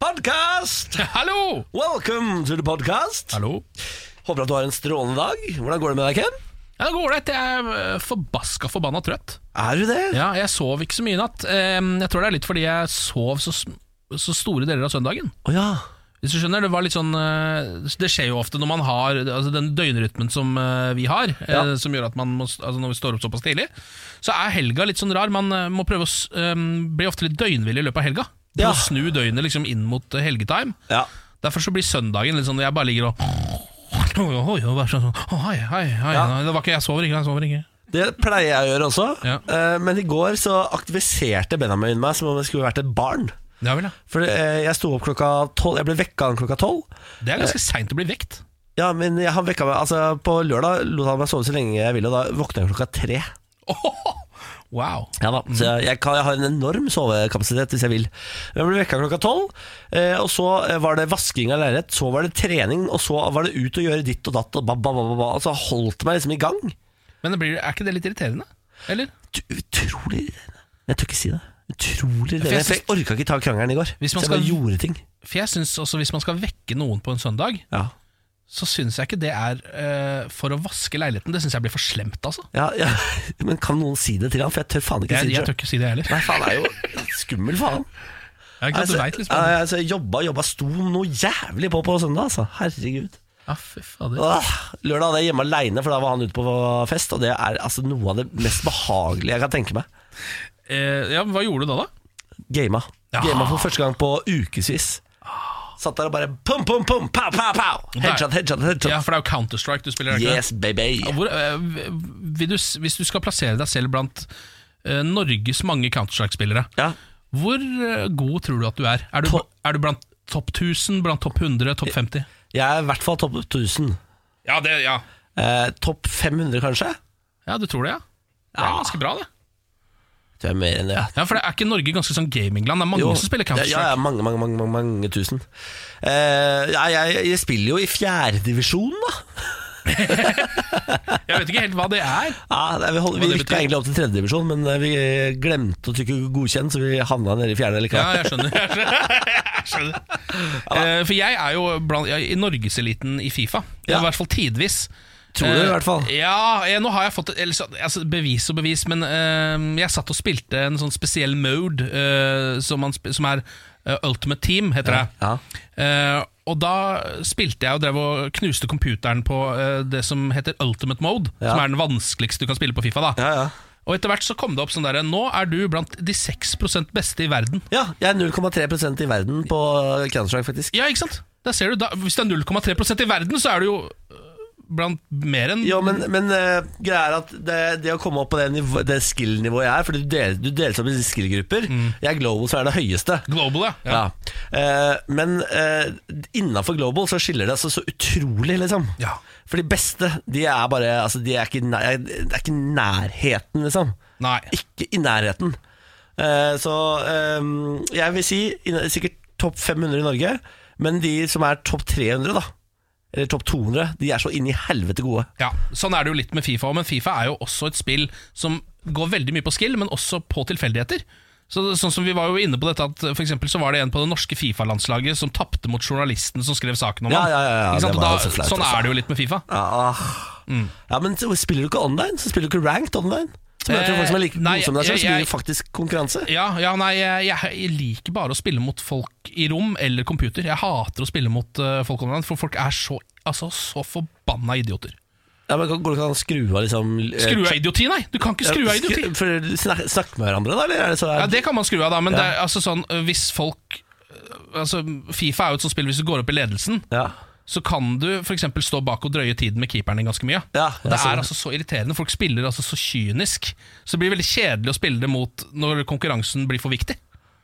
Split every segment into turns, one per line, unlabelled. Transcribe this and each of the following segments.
Podcast!
Hallo!
Welcome to the podcast.
Hallo?
Håper at du har en strålende dag. Hvordan går det med deg, Ken?
Ja, det går ålreit. Jeg er eh, forbaska forbanna trøtt.
Er du det?
Ja, jeg sov ikke så mye i natt. Eh, Jeg tror det er litt fordi jeg sov så, sm- så store deler av søndagen.
Å ja.
Hvis du skjønner, Det var litt sånn eh, Det skjer jo ofte når man har altså den døgnrytmen som eh, vi har, eh,
Ja.
som gjør at man må, altså når vi står opp såpass tidlig, så er helga litt sånn rar. Man eh, må prøve å s- eh, bli ofte litt døgnvillig i løpet av helga. Prøve
Ja.
Å snu døgnet liksom inn mot eh, helgetime.
Ja.
Derfor så blir søndagen litt sånn Jeg bare ligger og Oi, oi, og bare sånn, «Å, hei, hei, hei.
Ja.
nei, Det var ikke jeg sover ikke, jeg sover ikke.
Det pleier jeg å gjøre også.
Ja.
Eh, Men i går så aktiviserte Benjamin meg som om jeg skulle vært et barn.
Ja vel, ja.
For eh, jeg sto opp klokka tolv. Jeg ble vekka klokka tolv.
Det er ganske seint å bli vekt.
Ja, men jeg, han vekka meg Altså, på lørdag lot han meg sove så lenge jeg ville, og da våkna jeg klokka tre.
wow.
Ja da, så jeg, jeg, kan, jeg har en enorm sovekapasitet hvis jeg vil. Jeg ble vekka klokka tolv, eh, og så eh, var det vasking av leilighet, så var det trening, og så var det ut og gjøre ditt og datt, og ba, ba, ba, ba, ba. Altså, holdt meg liksom i gang.
Men det blir, er ikke det litt irriterende? Eller?
Ut- Utrolig irriterende. Jeg tør ikke si det. Utrolig
For jeg
irriterende. For jeg orka ikke ta krangelen i går.
Hvis man
så jeg bare
skal-
gjorde ting.
For jeg synes også Hvis man skal vekke noen på en søndag,
Ja.
så syns jeg ikke det er eh, for å vaske leiligheten. Det syns jeg blir for slemt, altså.
Ja, ja. Men kan noen si det til ham? For jeg tør faen ikke
Jeg,
si det
jeg tør
sjøl.
ikke si det, jeg heller.
Nei, faen, jeg er jo skummel, faen.
Ja, ikke sant? Du vet liksom
ja, altså, jeg jobba, jobba, sto noe jævlig på på søndag, altså. Herregud.
Ja, Ah, fy fader.
Åh, lørdag hadde jeg hjemme aleine, for da var han ute på fest. Og det er altså noe av det mest behagelige jeg kan tenke meg.
Eh, ja, men hva gjorde du da, da?
Gama.
Ja.
Gama for første gang på ukevis. Satt der og bare pum, pum, pum, pow, pow, pow. Headshot, headshot, headshot.
Ja, For det er jo Counter-Strike du spiller. er det ikke det?
Yes, baby.
Hvor, eh, vil du, s- hvis du skal plassere deg selv blant eh, Norges mange Counter-Strike-spillere,
Ja.
hvor eh, god tror du at du er? Er du,
Topp.
er du blant topp 1000, blant topp 100, topp 50?
Jeg er i hvert fall topp 1000.
Ja, det, ja.
Eh, topp 500, kanskje?
ja, du tror det, ja? Det er
Ja.
ganske bra, det.
Tror jeg er mer enn det. ja.
Ja, For det er ikke Norge ganske sånn gamingland? Det er mange
Jo.
som spiller
Ja, ja,
Counter-Strike.
mange, mange, mange, mange, mange tusen. Eh, ja, jeg, jeg spiller jo i fjerdedivisjon, da.
Jeg vet ikke helt hva det er.
Ja, det er- vi hold,
Hva
vi
det
rykka
betyr?
egentlig opp til tredjedivisjon, men eh, vi glemte å trykke godkjent, så vi havna nede i fjerde
Ja,
likevel.
jeg skjønner. Jeg skjønner. Jeg skjønner. Eh, for jeg er jo blant, jeg, er i norgeseliten i Fifa.
Ja.
I hvert fall tidvis.
Tror du,
Eh,
i hvert fall.
Ja, eh, nå har jeg fått eller, så- altså, bevis og bevis, men eh, jeg satt og spilte en sånn spesiell mode eh, som, man, sp- som er eh, Ultimate Team, heter det.
Ja.
Eh, og da spilte jeg og drev og knuste computeren på eh, det som heter Ultimate Mode,
Ja.
som er den vanskeligste du kan spille på Fifa. da
Ja, ja.
Og etter hvert så kom det opp sånn derre Nå er du blant de 6 beste i verden.
ja jeg er 0,3 i verden på eh, Counter-Strike, faktisk.
Ja, ikke sant? Der ser du, da, Hvis det er 0,3 i verden, så er du jo øh, blant mer enn
Jo, men, men eh, greia er at det, det å komme opp på det, nivå, det skill-nivået jeg er For du, del, du deles opp i skill-grupper. Jeg er global, så er det høyeste.
global, Mm. ja.
Ja. Eh, men eh, innafor global så skiller det seg så utrolig, liksom.
Ja.
For de beste, de er bare altså, de er ikke, i nær, Det er ikke i nærheten, liksom.
Nei.
Ikke i nærheten. Eh, så eh, jeg vil si inn- sikkert topp 500 i Norge, men de som er topp 300, da, eller topp 200, de er så inn i helvete gode.
Ja, Sånn er det jo litt med Fifa òg, men Fifa er jo også et spill som går veldig mye på skill, men også på tilfeldigheter. Så, sånn som vi var jo inne på dette at for eksempel, så var det en på det norske Fifa-landslaget som tapte mot journalisten som skrev saken om
Ja,
ham.
ja, ja, ja,
Ikke sant?
det
Og
var
da,
jo så flaut,
sånn
altså.
er det jo litt med Fifa.
Ja, ah.
Mm.
ja, men så spiller du ikke online, så spiller du ikke ranked online. Så møter du
Eh,
folk som er like
nei,
gode som deg, selv,
jeg-
så blir
jeg-
det faktisk konkurranse.
Ja, ja nei, jeg, jeg liker bare å spille mot folk i rom eller computer. Jeg hater å spille mot øh, folk online, for folk er så, altså, så forbanna idioter.
Ja, men Går det ikke an å skru av liksom eh,
Skru av idioti, nei! Du kan ikke skru av idioti.
skru- For snak, Snakke med hverandre, da? Eller er det så
Ja, det kan man skru av, da, men det er altså sånn øh, hvis folk øh, Altså, Fifa er jo et sånt spill hvis du går opp i ledelsen,
ja.
så kan du f.eks. stå bak og drøye tiden med keeperen din ganske mye.
Ja, sånn.
Og
jeg
det
ser
er
det.
altså så irriterende. Folk spiller altså så kynisk. Så det blir veldig kjedelig å spille det mot når konkurransen blir for viktig.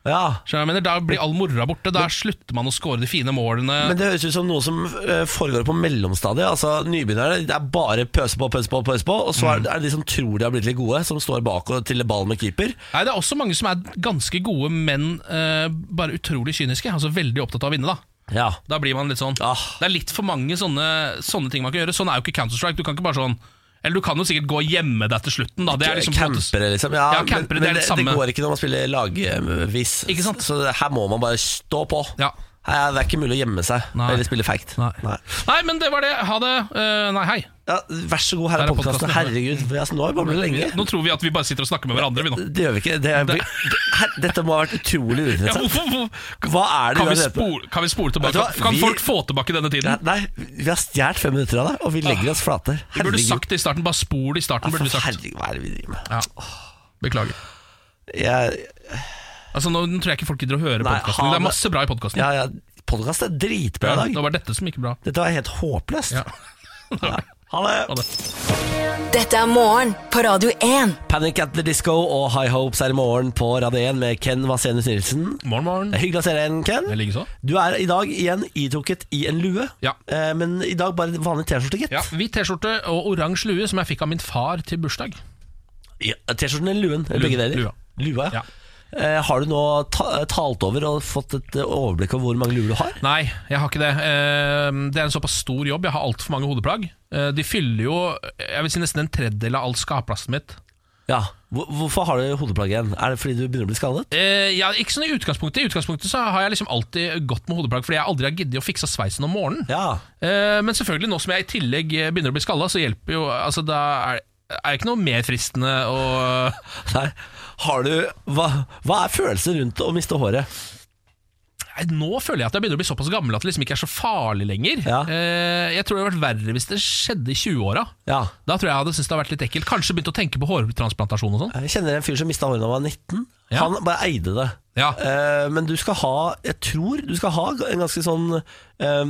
ja.
Skjønner du hva jeg mener? Da blir all moroa borte. Da slutter man å score de fine målene.
Men det høres ut som noe som eh, foregår på mellomstadiet. Altså Nybegynnerne det er bare pøse på, pøse på, pøse på. Og
Mm.
så er det- er det de som tror de har blitt litt gode, som står bak og triller ball med keeper.
Nei, Det er også mange som er ganske gode, men eh, bare utrolig kyniske. Altså Veldig opptatt av å vinne, da.
Ja.
Da blir man litt sånn
Ah.
Det er litt for mange sånne, sånne ting man kan gjøre. Sånn er jo ikke Counter-Strike. Du kan ikke bare sånn Eller du kan jo sikkert gå og gjemme deg til slutten. Da. Det er liksom på en måte-
campere, liksom. Ja,
Ja, campere,
men,
det er
men
det
det,
samme.
det går ikke når man spiller lagvis.
Ikke sant?
Så det- her må man bare stå på.
Ja.
Her er det er ikke mulig å gjemme seg
Nei.
eller spille feigt.
Nei. Nei, men det var det. Ha det. Eh, nei, hei.
Ja, vær så god, her
Her
er
er podcasten.
podkasten. Herregud, vi har snart bablet lenge.
Nå tror vi at vi bare sitter og snakker med hverandre, vi nå.
Det gjør vi ikke. Det er,
Det-
her, dette må ha vært utrolig
Ja,
uinteressant.
hvorfor, hvorfor?
Hva er det har drevet
Kan, vi
med?
spole, kan vi spole
Vet
tilbake?
du hva?
Kan, kan
Vi-
folk få tilbake denne tiden?
Nei, vi har stjålet fem minutter av deg, og vi legger oss flate.
Vi burde sagt Ah. det i starten. Bare spol i starten, burde vi sagt.
herregud, hva er det vi driver med?
Ja. Beklager.
Jeg,
Altså, nå tror jeg ikke folk gidder å høre
Nei,
podkasten.
ha
Det
det.
er masse bra i podkasten.
ja, ja, podkast er dritbra i
det
dag.
var bare dette som gikk bra.
Dette var helt håpløst.
Ja.
Ja. Ha det!
Ha det.
Dette er morgen på Radio 1.
Panic at the Disco og High Hopes er i morgen på Radio 1 med Ken Vasenus Nilsen.
Morgen, morgen.
Det er Hyggelig å se deg igjen,
Jeg
Ken.
ligger så.
Du er i dag igjen idrukket i en lue,
Ja.
Eh, men i dag bare vanlig T-skjorte, gitt.
Ja, Hvit T-skjorte og oransje lue, som jeg fikk av min far til bursdag.
Ja, T-skjorten eller luen? Eller
Lua.
begge deler?
Lua.
Lua, ja.
Ja.
Eh, har du nå ta eh, talt over og fått et eh, overblikk over hvor mange luer du har?
Nei, jeg har ikke det. Eh, Det er en såpass stor jobb. Jeg har altfor mange hodeplagg. Eh, De fyller jo jeg vil si nesten en tredjedel av all skapplassen mitt.
Ja. Hvor- Hvorfor har du hodeplagg igjen? Er det fordi du begynner å bli skadet?
Eh, ja, ikke sånn I utgangspunktet I utgangspunktet så har jeg liksom alltid gått med hodeplagg fordi jeg aldri har giddet å fikse sveisen om morgenen.
Ja.
Eh, men selvfølgelig, nå som jeg i tillegg eh, begynner å bli skalla, så hjelper jo altså, Da er er det ikke noe mer fristende å
Nei. Har du Hva, hva er følelsen rundt å miste håret?
Nei, Nå føler jeg at jeg begynner å bli såpass gammel at det liksom ikke er så farlig lenger.
Ja.
Eh, jeg tror det hadde vært verre hvis det skjedde i 20-åra.
Ja.
Da tror jeg jeg hadde syntes det hadde vært litt ekkelt. Kanskje begynt å tenke på hårtransplantasjon og sånn.
Jeg kjenner en fyr som mista håret da han var 19.
Ja.
Han bare eide det.
Ja.
Eh, men du skal ha Jeg tror du skal ha en ganske sånn eh,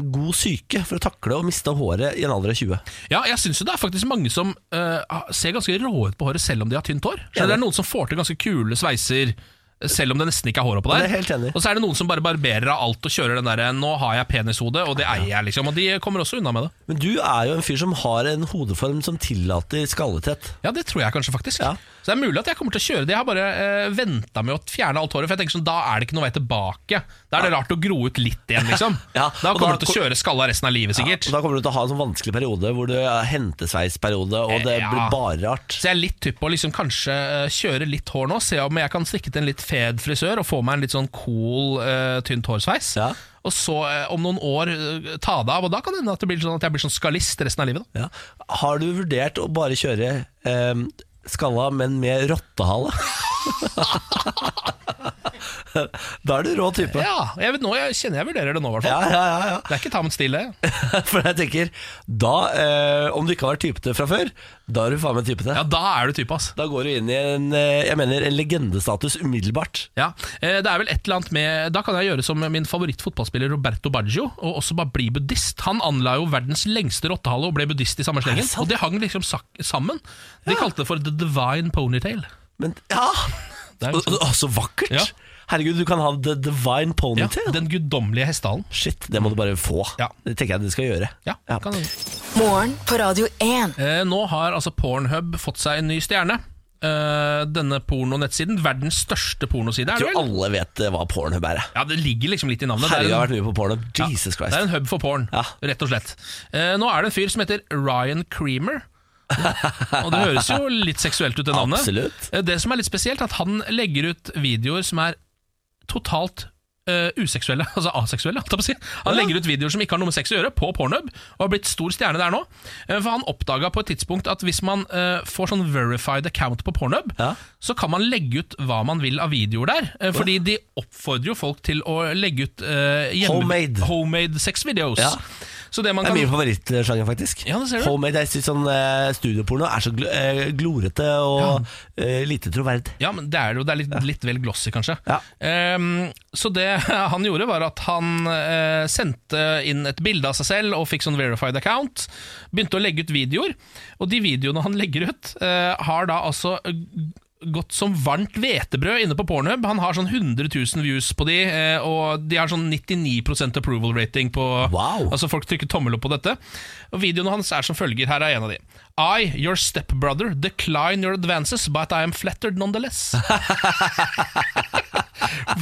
god syke for å takle å miste håret i en alder av 20.
ja, jeg syns jo det er faktisk mange som eh, ser ganske rå ut på håret selv om de har tynt hår. Så det er noen som får til ganske kule sveiser eh, selv om det nesten ikke er hår oppå
Det
der.
er jeg helt enig i.
Og så er det noen som bare barberer av alt og kjører den derre 'nå har jeg penishode', og det eier jeg, liksom. Og de kommer også unna med det.
Men du er jo en fyr som har en hodeform som tillater skallethet.
Ja, det tror jeg kanskje, faktisk.
Ja.
Så det er mulig at jeg kommer til å kjøre det. Jeg har bare eh, venta med å fjerne alt håret, for jeg tenker sånn, da er det ikke noe vei tilbake. Da er det rart å gro ut litt igjen, liksom.
Ja,
Da
og
kommer
da-
du til å kjøre skalla resten av livet, sikkert.
Og da kommer du til å ha en sånn vanskelig periode hvor du er hentesveisperiode, og det
Eh, Ja.
blir bare rart.
Så jeg er litt typ på å liksom kanskje eh, kjøre litt hår nå, se om jeg kan stikke til en litt fed frisør og få meg en litt sånn cool, eh, tynt hårsveis.
Ja.
Og så eh, om noen år eh, ta det av, og da kan det hende at det blir sånn at jeg blir sånn skallist resten av livet.
Ja.
Da.
Har du vurdert å bare kjøre eh, skalla, men med rottehale? da er du rå type.
Ja, jeg, vet, nå, jeg kjenner jeg vurderer det nå, i hvert fall.
Ja, ja, ja, ja.
Det er ikke ta med stil, det.
For jeg tenker, da, eh, om du ikke har vært typete fra før, da er du faen meg typete.
Ja, da er du type, ass.
Da går du inn i en, eh, jeg mener, en legendestatus umiddelbart.
Ja, eh, det er vel et eller annet med Da kan jeg gjøre som min favorittfotballspiller Roberto Baggio, og også bare bli buddhist. Han anla jo verdens lengste rottehale og ble buddhist i samme
det
slengen.
sant?
Og det hang liksom sak- sammen. De kalte det for The Divine Ponytail.
Men ja,
Det er
å,
jo sånn.
å, så vakkert!
Ja.
Herregud, du kan ha The Divine
Ja,
Ponytail.
den guddommelige hestehalen.
Shit, det må du bare få.
Ja.
Det tenker jeg du skal gjøre.
Ja,
Ja.
kan den.
Morgen på Radio 1.
Eh, nå har altså Pornhub fått seg en ny stjerne. Eh, denne pornonettsiden, verdens største pornoside, er
Jeg
det
tror
vel?
alle vet eh, hva pornhub er. jeg.
Ja, det ligger liksom litt i navnet.
Herregud, jeg har
det
vært
er en,
mye på pornhub. Jesus
det er
Christ.
en hub for porn,
Ja.
rett og slett. Eh, nå er det en fyr som heter Ryan Creamer. Og det høres jo litt seksuelt ut, det navnet.
Absolutt.
Eh, Det som er litt spesielt, er at han legger ut videoer som er totalt eh, useksuelle, altså aseksuelle. holdt jeg på å si. Han legger ut videoer som ikke har noe med sex å gjøre, på pornhub, og har blitt stor stjerne der nå. Eh, for han oppdaga på et tidspunkt at hvis man eh, får sånn verified account på pornhub,
Ja.
så kan man legge ut hva man vil av videoer der. Eh, fordi de oppfordrer jo folk til å legge ut eh, hjemme-
Homemade.
homemade sex videos.
Ja.
Så det man
Det er
kan
min favorittsjanger, faktisk.
Ja, det ser du.
Homemade. Jeg synes sånn eh, Studioporno er så gl eh, glorete og eh, lite troverd.
Ja, men det er det jo. Det er litt, litt vel glossy, kanskje.
Ja.
Ehm, så det han gjorde, var at han eh, sendte inn et bilde av seg selv og fikk sånn verified account. Begynte å legge ut videoer, og de videoene han legger ut, eh, har da altså g- gått som varmt hvetebrød inne på Pornhub. Han har sånn 100 000 views på de, eh, og de har sånn 99 approval rating på
Wow.
Altså Folk trykker tommel opp på dette. Og Videoene hans er som følger. Her er en av de. I, your stepbrother, decline your advances, but I am flattered nonetheless.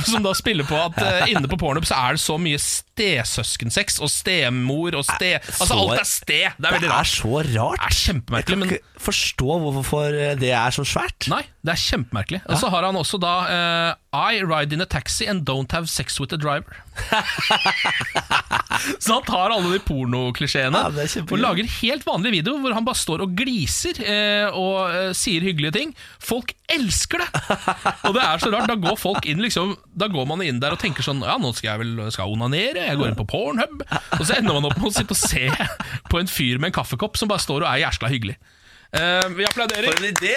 Som da spiller på at eh, inne på Pornhub så er det så mye stesøskensex og stemor og ste... Altså,
så-
alt er ste! Det er
Det
veldig
er
rart.
så
Det
rart.
er kjempemerkelig, men
Jeg kan ikke forstå hvorfor eh, det er så svært.
Nei, det er kjempemerkelig. Og så har han også da eh, I ride in a taxi and don't have sex with a driver. så han tar alle de pornoklisjeene
Ja, det er kjempegøy.
og lager en helt vanlig video hvor han bare står og gliser eh, og eh, sier hyggelige ting. Folk elsker det! Og det er så rart. Da går folk inn liksom Da går man inn der og tenker sånn Ja, nå skal jeg vel skal jeg onanere, jeg går inn på Pornhub. Og så ender man opp med å sitte og se på en fyr med en kaffekopp som bare står og er jæskla hyggelig. Eh, vi applauderer.
en idé!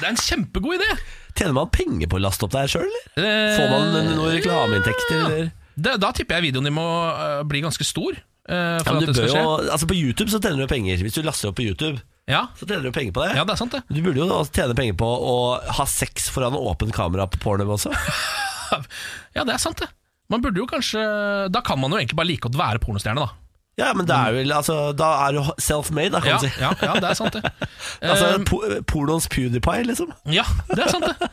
Det er en kjempegod idé!
Tjener man penger på å laste opp det her sjøl, eller?
Eh,
Får man noen reklameinntekter,
ja.
eller?
Da, da tipper jeg videoen din må øh, bli ganske stor. øh,
Ja,
for
men
at
du
det
bør
skal skje.
jo, altså På YouTube så tjener du penger. Hvis du laster opp på YouTube,
Ja.
så tjener du penger på det.
ja, det er sant, det.
Du burde jo også tjene penger på å ha sex foran åpent kamera på pornhub også.
Ja, det er sant, det. Man burde jo kanskje Da kan man jo egentlig bare like godt være pornostjerne, da.
Ja, men det er vel, altså, da er du self-made, da, kan
Ja,
man si.
ja, ja, det er sant, det.
Altså,
Eh,
po Pornoens PewDiePie, liksom.
ja, det er sant, det.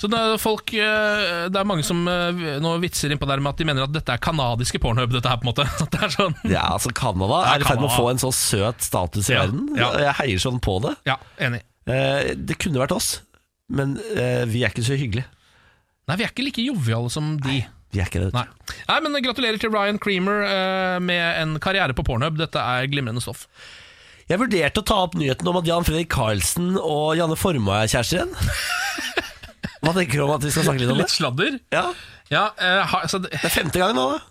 Så det er, folk, øh, det er mange som øh, nå vitser innpå der med at de mener at dette er kanadiske pornhub, dette her, på en måte. At det er sånn
Ja, altså Canada er i ferd med å
Canada.
få en så søt status i
Ja,
verden.
ja.
og Jeg heier sånn på det.
Ja, enig.
Eh, det kunne vært oss, men eh, vi er ikke så hyggelige.
Nei, vi er ikke like joviale som de.
Vi er ikke det.
Nei.
vet du.
Nei, men gratulerer til Ryan Creamer eh, med en karriere på Pornhub. Dette er glimrende stoff.
Jeg vurderte å ta opp nyheten om at Jan Fredrik Karlsen og Janne Formoe er kjærester igjen. Hva tenker du om at vi skal snakke litt om det?
Litt sladder.
Ja,
Ja, eh, ha, altså, det
Det er femte gang nå, da.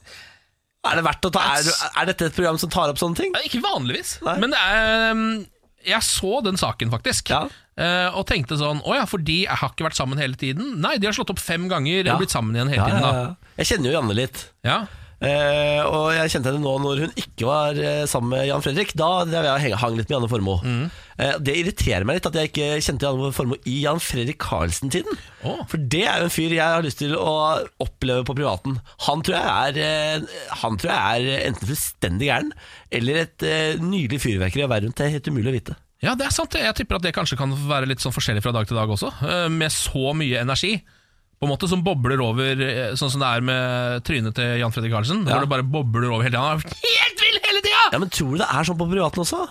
Er, det verdt å ta, er, er dette et program som tar opp sånne ting?
er ikke vanligvis,
Nei.
men eh, jeg så den saken, faktisk.
Ja.
eh, og tenkte sånn Å ja, for de har ikke vært sammen hele tiden? Nei, de har slått opp fem ganger
Ja.
og blitt sammen igjen hele
Ja, ja,
tiden. da
ja. Jeg kjenner jo Janne litt.
ja.
Eh, og jeg kjente henne nå når hun ikke var eh, sammen med Jan Fredrik. Da drev jeg og heng- hang litt med Janne Formoe. Eh, det irriterer meg litt at jeg ikke kjente Janne Formoe i Jan Fredrik Karlsen-tiden.
Å.
For det er jo en fyr jeg har lyst til å oppleve på privaten. Han tror jeg er, eh, han tror jeg er enten fullstendig gæren eller et eh, nydelig fyrverkeri å være rundt. Det er helt umulig å vite.
ja, det er sant. det. Jeg tipper at det kanskje kan være litt sånn forskjellig fra dag til dag også, eh, med så mye energi. På en måte Som bobler over, eh, sånn som det er med trynet til Jan Fredrik Karlsen.
Ja.
Hvor det bare bobler over hele tida. Han er helt vill hele tida!
Ja, Men tror du det er sånn på privaten også?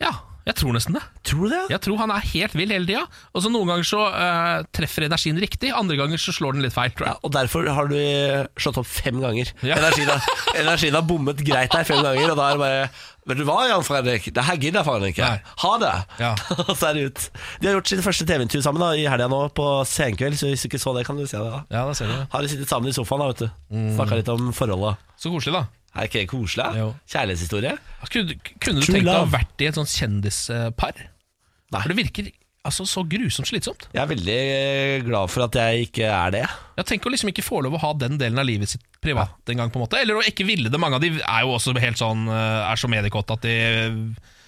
Ja, jeg tror nesten det.
Tror du det?
Jeg tror han er helt vill hele tida. Og så noen ganger så eh, treffer energien riktig, andre ganger så slår den litt feil. Tror
Ja,
jeg.
og derfor har du slått opp fem ganger.
Ja.
Energien, har, energien har bommet greit der fem ganger, og da er det bare Vet du hva, Jan Fredrik, det her gidder jeg faen ikke.
Nei.
Ha det!
Ja.
og så er det ut. De har gjort sitt første TV-intervju sammen da, i helga nå, på senkveld, så hvis du ikke så det, kan du se det. da
Ja, da ser du det.
Har de sittet sammen i sofaen, da, vet du.
Mm.
Snakka litt om forholda.
Så koselig, da.
Er ikke det koselig? da?
Jo.
Kjærlighetshistorie?
Kunne, kunne du
True
tenkt deg å
love.
ha vært i et sånt kjendispar?
Nei.
For det virker altså så grusomt slitsomt.
Jeg er veldig eh, glad for at jeg ikke er det.
Jeg tenker å liksom ikke få lov å ha den delen av livet sitt privat en gang, på en måte. Eller å ikke ville det. Mange av de er jo også helt sånn eh, Er så mediekåte at de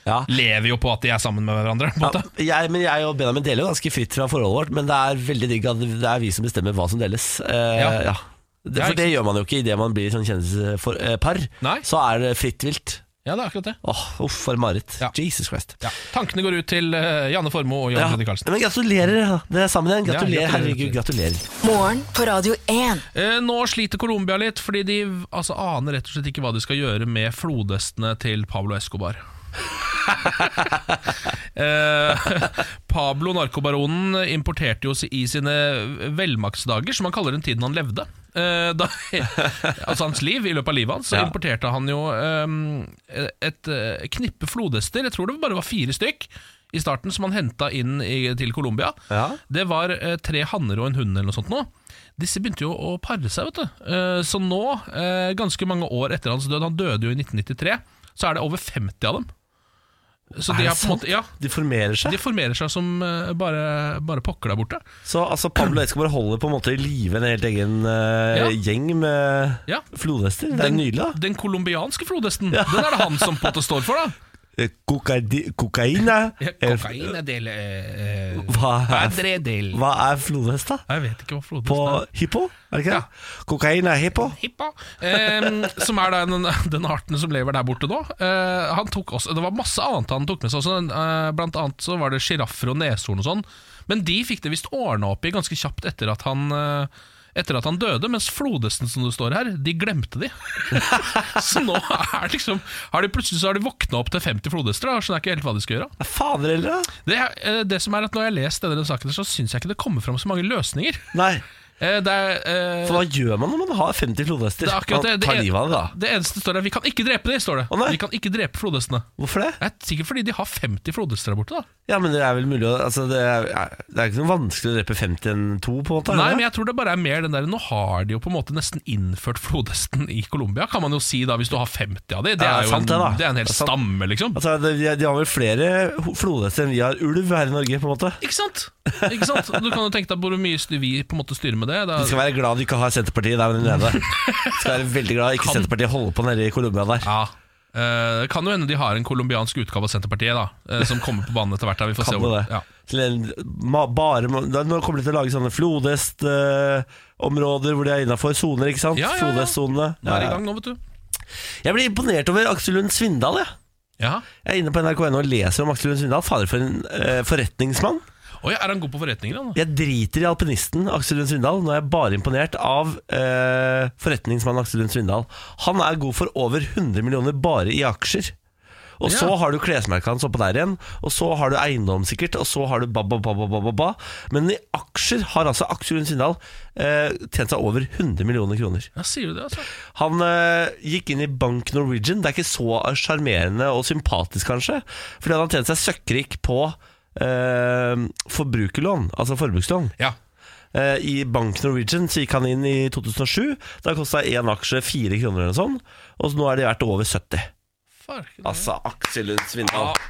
Ja.
lever jo på at de er sammen med hverandre. På en
Ja,
måte.
jeg, men jeg og Benjamin deler jo ganske fritt fra forholdet vårt, men det er veldig digg at det er vi som bestemmer hva som deles. Eh, ja.
Ja.
Det,
Ja,
for
ikke
det gjør man jo ikke idet man blir sånn kjendispar.
Nei.
Så er det fritt vilt.
Ja, det er akkurat det.
Åh, Uff, for mareritt.
Ja.
Jesus Christ.
Ja. Tankene går ut til eh, Janne Formoe og Jan
Ja,
Fredrik Karlsen.
Men gratulerer, da. dere er sammen igjen.
Ja,
Gratulerer,
gratulerer,
herregud, gratulerer.
Morgen på Radio 1.
Eh, nå sliter Colombia litt, fordi de altså, aner rett og slett ikke hva de skal gjøre med flodhestene til Pablo Escobar. eh, Pablo, narkobaronen, importerte jo i sine velmaktsdager, som han kaller den tiden han levde, eh, da, altså hans liv, i løpet av livet hans, så
Ja.
importerte han jo eh, et eh, knippe flodhester, jeg tror det bare var fire stykk, i starten som han henta inn i, til Colombia.
Ja.
Det var eh, tre hanner og en hund eller noe sånt nå. Disse begynte jo å pare seg, vet du. Eh, så nå, eh, ganske mange år etter hans død, han døde jo i 1993, så er det over 50 av dem. Så
Er
de,
det
har på en måte, ja,
De formerer seg.
de formerer seg som eh, bare, bare pokker der borte.
Så altså, Pablo Escobar holder på en måte i live en helt egen eh,
Ja.
gjeng med
Ja.
flodhester. Det er nydelig, da.
Den colombianske flodhesten, den er det han som på en måte står for, da.
Eh, Kokaidi, kokaina.
Ja, Kokain er del eh,
Hva er-
Padre del
Hva er flodhest, da?
Jeg vet ikke hva
På
flodhesten er.
hippo, er det ikke det? Kokain er hippo.
Hippa, eh, som er da den, den arten som lever der borte nå. Eh, han tok også, det var masse annet han tok med seg. Også, eh, blant annet så var det sjiraffer og neshorn og sånn. Men de fikk det visst ordna opp i ganske kjapt etter at han eh, etter at han døde, mens Flodesen, som det står her, de glemte de. så nå er liksom har de Plutselig så har de våkna opp til 50 flodhester da, og skjønner ikke helt hva de skal gjøre.
Ja, Fader heller, da.
Det, er- eh, det som er at Når jeg har lest denne saken, så syns jeg ikke det kommer fram så mange løsninger.
Nei,
Eh, Det er, eh,
for hva gjør man når man har 50 flodhester?
det er akkurat det.
Man
Det,
tar
en-
livet av det, da.
det eneste står her, vi kan ikke drepe de, står det.
Å, nei.
vi kan ikke drepe flodhestene.
Hvorfor det?
Det er sikkert fordi de har 50 flodhester der borte. da
Ja, men det er vel mulig å altså, det, er, det er ikke noe vanskelig å drepe 50 enn 2, på en måte? er det
Nei,
det?
men jeg tror det bare er mer den der Nå har de jo på en måte nesten innført flodhesten i Colombia, kan man jo si da, hvis du har 50 av de. Det
Ja,
er jo
sant
en,
det, da.
det er en hel
Det er sant.
stamme, liksom.
Altså, det, de, de har vel flere ho- flodhester enn vi har ulv her i Norge, på en måte.
Ikke sant? Ikke sant? Du kan jo tenke deg hvor mye styr- vi på en måte styrer med det. Da,
Du skal være glad du ikke har Senterpartiet der nede. Du skal være veldig glad ikke
Kan-
Senterpartiet holder på nede i Colombia der.
ja. Eh, kan jo hende de har en colombiansk utgave av Senterpartiet, da. eh, som kommer på banen etter hvert. da. Vi får se
Kan
hvor
det.
ja.
Til en- ma- bare, må- da, nå kommer de til å lage sånne flodhestområder hvor de er innafor soner, ikke sant?
Ja, ja, ja.
Flodhestsonene.
Nå er det
Ja,
i
ja.
gang nå, vet du.
Jeg blir imponert over Aksel Lund Svindal, jeg.
Ja.
Jeg er inne på NRK.no og leser om Aksel Lund Svindal. Fader, for en eh, forretningsmann.
Oi, er han god på forretninger, han? da?
Jeg driter i alpinisten Aksel Lund Svindal. Nå er jeg bare imponert av eh, forretningsmann Aksel Lund Svindal. Han er god for over 100 millioner bare i aksjer. Og så
Ja.
har du klesmerket hans oppå der igjen, og så har du eiendom sikkert, og så har du ba, ba, ba, ba, ba, ba, ba. Men i aksjer har altså Aksel Lund Svindal eh, tjent seg over 100 millioner kroner.
Ja, sier du det, altså?
Han eh, gikk inn i Bank Norwegian. Det er ikke så sjarmerende og sympatisk, kanskje. Fordi han har tjent seg søkkrik på eh, forbrukerlån, altså forbrukslån.
Ja.
Eh, I Bank Norwegian så gikk han inn i 2007. Da kosta én aksje fire kroner eller sånn. Og så nå er de verdt over 70.
Farken,
Altså Aksel Lund Svindal.
Ja.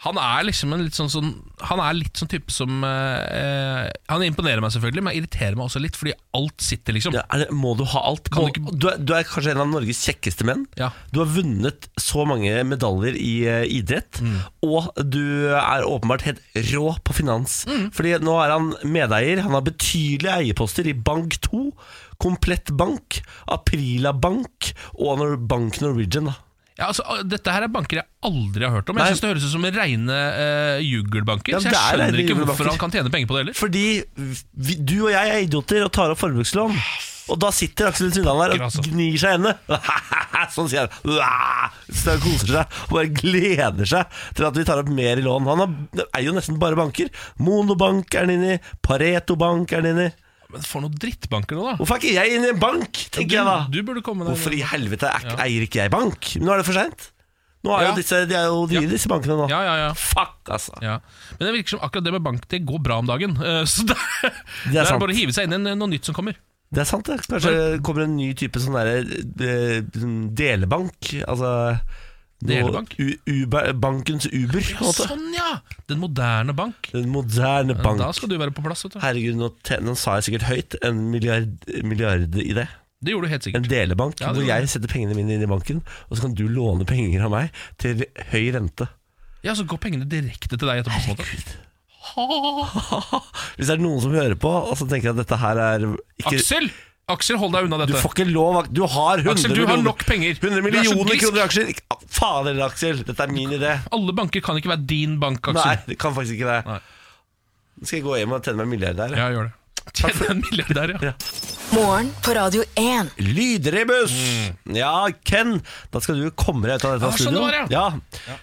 Han er liksom en litt sånn, sånn Han er litt sånn type som eh, eh, Han imponerer meg selvfølgelig, men irriterer meg også litt, fordi alt sitter, liksom.
Ja, er det, må du ha alt?
Kan
Må,
du ikke-
du, er, du er kanskje en av Norges kjekkeste menn.
Ja.
Du har vunnet så mange medaljer i eh, idrett,
Mm.
og du er åpenbart helt rå på finans.
Mm.
Fordi nå er han medeier. Han har betydelige eierposter i Bank2, Komplett Bank, Aprila Bank og Nor- Bank Norwegian. Da.
Ja, altså, ah, dette her er banker jeg aldri har hørt om.
Nei.
Jeg synes Det høres ut som reine eh, jugelbanker.
Ja,
så jeg
det er
skjønner
reine
ikke
jugelbanker.
hvorfor han kan tjene penger på det heller.
Fordi vi, du og jeg er idioter og tar opp forbrukslån. Og da sitter Aksel Lund Svindal der
Altså.
og gnir seg i hendene. Sånn sier han. Uah! Så han koser seg og bare gleder seg til at vi tar opp mer i lån. Han har, det er jo nesten bare banker. Monobank er han inni, Pareto Bank er han inni.
Men for noen drittbanker nå, da.
Hvorfor er ikke jeg inne i en bank, tenker jeg da.
Du, du burde komme deg
Hvorfor i helvete er, ikke- eier ikke jeg bank? Nå er det for seint. Nå er
Ja.
jo disse, de er jo dyre, disse bankene nå.
Ja, ja, ja.
Fuck, altså.
Ja. Men det virker som akkurat det med bank Det går bra om dagen. Eh, Så det, det
Det er
er
sant.
bare å hive seg inn i en- noe nytt som kommer.
Det er sant, det. Kanskje det kommer en ny type sånn derre eh, sånn delebank. Altså noe-
Delebank?
U Uber, bankens Uber, på en måte.
Sånn, ja! Den moderne bank.
Den moderne bank.
Da skal du være på plass. vet du
Herregud, nå, te- nå sa jeg sikkert høyt en milliard, milliard i det.
Det gjorde du helt sikkert.
En delebank
Ja, det
hvor
var det.
jeg setter pengene mine inn i banken, og så kan du låne penger av meg til høy rente.
Ja, så går pengene direkte til deg etterpå. på en måte.
Hvis det er noen som hører på og så tenker at dette her er ikke
Aksel! Aksel, hold deg unna
Du
dette.
får ikke lov, Ak- du har 100
Aksel, du har
millioner-
nok penger.
100
Du er så
millioner
grisk.
kroner i aksjer! Ikke- Fader, Aksel, dette er min idé.
Alle banker kan ikke være din bank,
Nei,
Aksel.
det kan faktisk ikke det.
Nei.
Nå skal jeg gå hjem og tenne meg en milliard der.
Ja, gjør det. Tjene en milliardær, ja.
Morgen på Radio 1.
Lydrebus! Ja, Ken, da skal du komme deg ut av dette
Ja, sånn
studioet.
var det,
ja.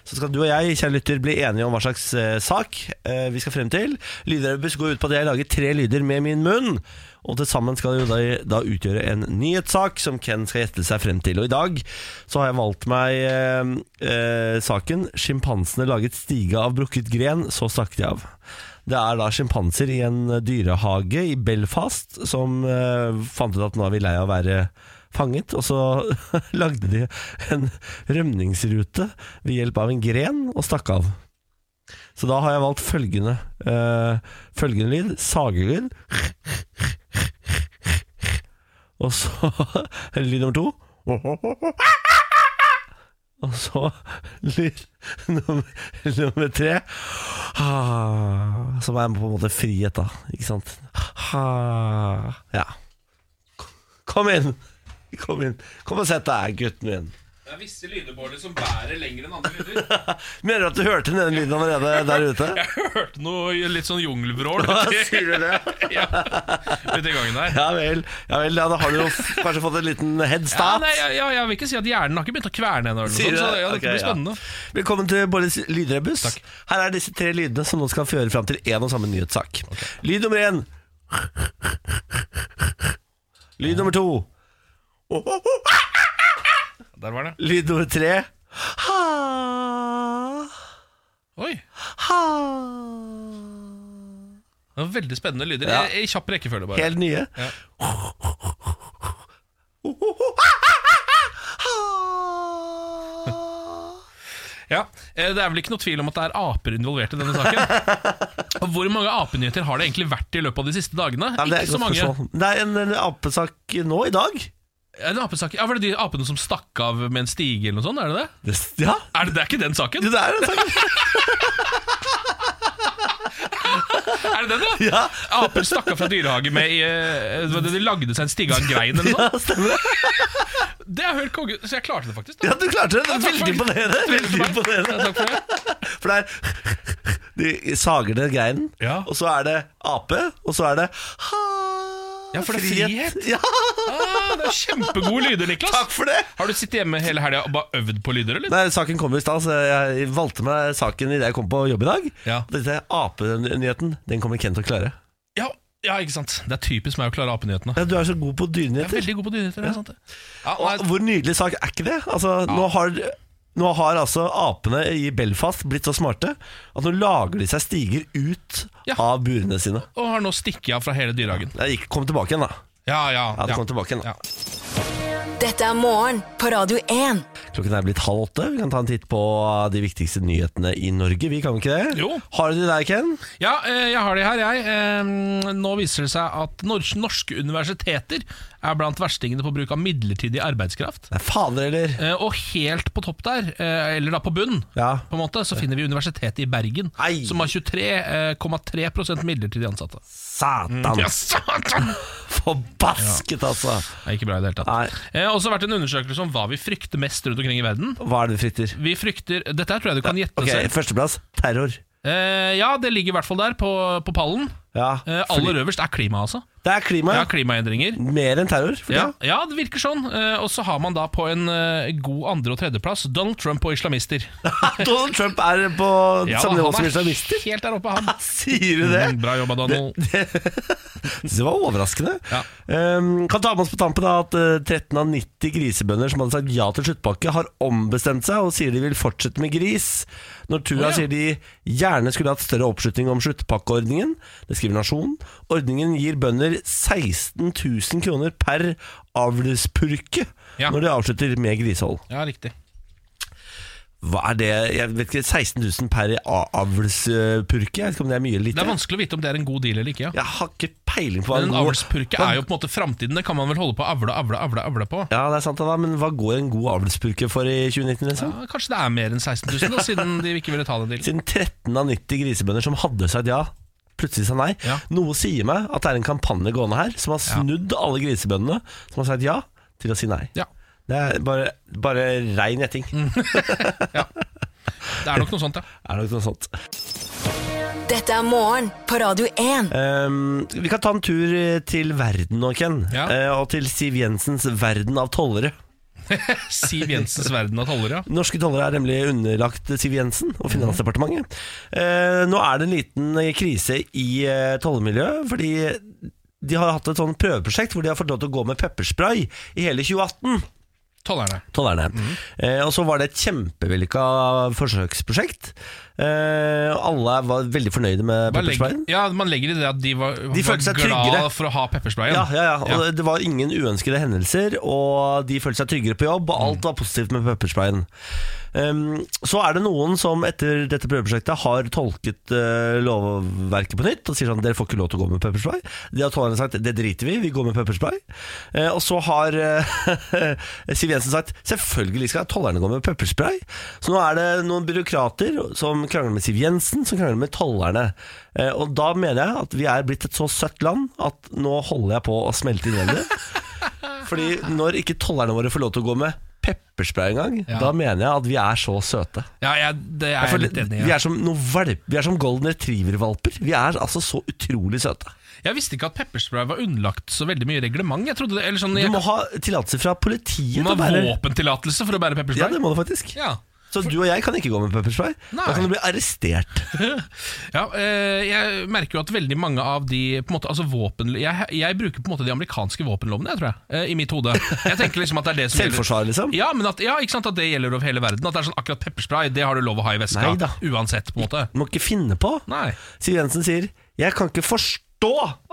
Så skal du og jeg, kjære lytter, bli enige om hva slags eh, sak eh, vi skal frem til. Lydrebus går ut på at jeg lager tre lyder med min munn. Og til sammen skal det jo da, da utgjøre en nyhetssak som Ken skal gjette seg frem til. Og i dag så har jeg valgt meg eh, eh, saken 'Sjimpansene laget stige av brukket gren, så stakk de av'. Det er da sjimpanser i en dyrehage i Belfast som eh, fant ut at nå er vi lei av å være fanget, og så lagde de en rømningsrute ved hjelp av en gren og stakk av. Så da har jeg valgt følgende eh, Følgende lyd, sagelyd Og så lyd nummer to Og så lyd nummer, nummer tre Ah, Som er på en måte frihet da Ikke sant? Ah, Ja Kom inn Kom inn Kom og sett deg, gutten min
Det er visse lydebåler som bærer lenger enn andre lyder.
Mener du at du hørte den lyden allerede der ute?
Jeg hørte noe litt sånn jungelvrål
Sier du det?
ja, uti gangen der.
Ja vel, ja vel, ja, da har du jo f- kanskje fått en liten head
Ja,
start.
nei, jeg, jeg, jeg vil ikke si at hjernen har ikke begynt å kverne ennå. eller noe
Sier
sånt,
du
Sånn, Så ja, det
Ok,
blir spennende.
Velkommen til Bårdis lydrebuss.
Takk.
Her er disse tre lydene som nå skal føre fram til én og samme nyhetssak. Lyd nummer én. Lyd nummer to.
Der var det.
Lyd nummer tre. Ha,
Oi,
ha.
det var Veldig spennende lyder.
Ja.
I, I kjapp rekkefølge, bare.
Helt nye.
Ja. Ja, eh, Det er vel ikke noe tvil om at det er aper involvert i denne saken. Og Hvor mange apenyheter har det egentlig vært i løpet av de siste dagene?
Ja, men det er
ikke så
et godt
mange.
spørsmål. Det er en, en apesak nå i dag.
Er det apesak? Ja, Var det de apene som stakk av med en stige eller noe sånt? Er det det?
Det- Ja,
Er det, det er ikke den saken?
jo, det er en sak.
Er det den, da?
Ja,
Aper stakk av fra dyrehage med i, eh, hva det- De lagde seg en stige av en grein eller noe
ja
sånt.
stemmer det.
Det er helt konge. Så jeg klarte det faktisk. da
Ja, du klarte det. det er
takk
veldig
for det.
imponerende. Veldig imponerende.
Ja, Takk for det.
For det er De sager ned greinen,
Ja.
og så er det ape, og så er det ha,
Ja, for det er frihet.
Ja,
Ah, det er kjempegode lyder, Niklas.
takk for det!
Har du sittet hjemme hele helga og bare øvd på lyder, eller?
Nei, Saken kom jo i stad, så jeg valgte meg saken idet jeg kom på jobb i dag.
Ja.
Og Dette apenyheten, den kommer Ken til å klare.
Ja, ja, ikke sant. Det er typisk meg å klare apenyhetene.
Ja, Du er så god på
Jeg er
dyrenyheter.
veldig god på dyrenyheter. det er sant det. Ja,
Og
nei,
Hvor nydelig sak er ikke det? Altså, nå, har, nå har altså apene i Belfast blitt så smarte at nå lager de seg stiger ut
Ja.
av burene sine.
og har nå stikket av fra hele dyrehagen.
Jeg gikk, kom tilbake igjen, da.
Ja, ja.
Ja, det
ja.
kom tilbake igjen da.
Ja.
Dette er morgen på Radio 1.
Klokken er blitt halv åtte. Vi kan ta en titt på uh, de viktigste nyhetene i Norge. Vi kan jo ikke det?
Jo.
Har du det der, Ken?
Ja, eh, jeg har det her, jeg. Eh, Nå viser det seg at nors- norske universiteter er blant verstingene på bruk av midlertidig arbeidskraft.
Nei, fader heller.
Eh, Og helt på topp der, eh, eller da på bunn,
Ja.
på en måte, så finner vi Universitetet i Bergen,
Ei.
som har eh, 23,3 midlertidig ansatte.
Satan.
Ja, satan!
Forbasket, altså.
Det er ikke bra i det hele
Nei.
tatt. Det har også vært en undersøkelse om hva vi frykter mest rundt omkring i verden.
Hva er det du frykter?
Vi frykter Dette her tror jeg du kan gjette
Ok,
selv.
Førsteplass terror.
Eh, ja, det ligger i hvert fall der, på, på pallen.
Ja.
Eh,
fordi-
aller øverst er klima, altså.
Det er klima.
Ja,
ja.
klimaendringer.
Mer enn terror. for
Ja,
det.
ja, det virker sånn. Eh, og så har man da på en eh, god andre- og tredjeplass Donald Trump og islamister.
Donald Trump er på
Ja,
samme nivå
han
som
er
islamister.
Helt der oppe, han.
Sier du det?
Mm, Bra jobba, Donald.
Det var overraskende.
Ja.
Ehm, kan ta med oss på tampen da at eh, 13 av 90 grisebønder som hadde sagt ja til sluttpakke, har ombestemt seg og sier de vil fortsette med gris. Nortura
Å, ja.
sier de gjerne skulle hatt større oppslutning om sluttpakkeordningen. Det skriver Nasjon. Ordningen gir bønder 16 000 kroner per avlspurke
Ja.
når de avslutter med grisehold.
Ja, riktig.
Hva er det? Jeg vet ikke, 16 000 per a- avlspurke? Jeg vet ikke om det er mye eller
Det er
lite.
vanskelig å vite om det er en god deal eller ikke. ja
Jeg har ikke peiling på hva
Men en
god-
avlspurke er jo på en måte framtiden. Det kan man vel holde på å avle, avle, avle, avle på.
Ja, det er sant det da, men hva går en god avlspurke for i 2019? Liksom?
Ja, kanskje det er mer enn 16 000, da, siden de ikke ville ta den dealen.
Siden 13 av 90 grisebønder som hadde sagt ja, plutselig sa nei.
Ja.
Noe sier meg at det er en kampanje gående her som har snudd alle grisebøndene som har sagt ja, til å si nei.
Ja,
Det er bare, bare rein gjetting.
Mm. det er nok noe sånt, ja.
Er det nok noe sånt.
Dette er morgen på Radio 1.
Ehm, vi kan ta en tur eh, til verden nå, Ken.
Ja.
Eh, og til Siv Jensens verden av tollere.
Siv Jensens verden av tollere. ja.
Norske tollere er nemlig underlagt Siv Jensen og Finansdepartementet. Eh, nå er det en liten krise i eh, tollemiljøet, fordi de har hatt et sånn prøveprosjekt hvor de har fått lov til å gå med pepperspray i hele 2018.
Tollerne.
Tollerne. Eh, og så var det et kjempevellykka forsøksprosjekt. Eh, alle var veldig fornøyde med
Bare legger,
peppersprayen.
ja, man legger i det at de var,
De
var
følte seg
glad
tryggere.
for å ha peppersprayen.
Ja, ja, ja. Og det- det var ingen uønskede hendelser, og de følte seg tryggere på jobb, og alt var positivt med peppersprayen. Um, så er det noen som etter dette prøveprosjektet har tolket eh, lovverket på nytt og sier sånn dere får ikke lov til å gå med pepperspray. De har tålende sagt det driter vi i, vi går med pepperspray. Eh, og så har eh, Siv Jensen sagt selvfølgelig skal tollerne gå med pepperspray. Så nå er det noen byråkrater som krangler med Siv Jensen, som krangler med tollerne. Eh, og da mener jeg at vi er blitt et så søtt land at nå holder jeg på å smelte inn i det. Fordi når ikke tollerne våre får lov til å gå med pepperspray en gang,
Ja.
da mener jeg at vi er så søte.
Ja, jeg, det er
Jeg
jeg
føler-
litt enig i.
Vi
ja.
er som noen valp, vi er som golden retriever-valper. Vi er altså så utrolig søte.
Jeg visste ikke at pepperspray var underlagt så veldig mye reglement. Jeg trodde det, eller sånn,
Du
jeg,
må ha tillatelse fra politiet.
du må
til å
ha
bære-
våpentillatelse for å
Ja,
bære pepperspray.
det må du faktisk.
Ja.
Så du og jeg kan ikke gå med pepperspray. Da
Nei.
kan du bli arrestert.
Ja, eh, jeg merker jo at veldig mange av de på en måte, altså våpen, jeg, jeg bruker på en måte de amerikanske våpenlovene, jeg tror jeg, eh, i mitt hode. Jeg tenker liksom at det er det som gjelder.
Selvforsvar, liksom.
Ja, men at, ja, ikke sant, at det gjelder over hele verden. At det er sånn akkurat pepperspray, det har du lov å ha i veska.
Neida.
Uansett, på en måte.
Du må ikke finne på.
Nei.
Siv Jensen sier Jeg kan ikke forstå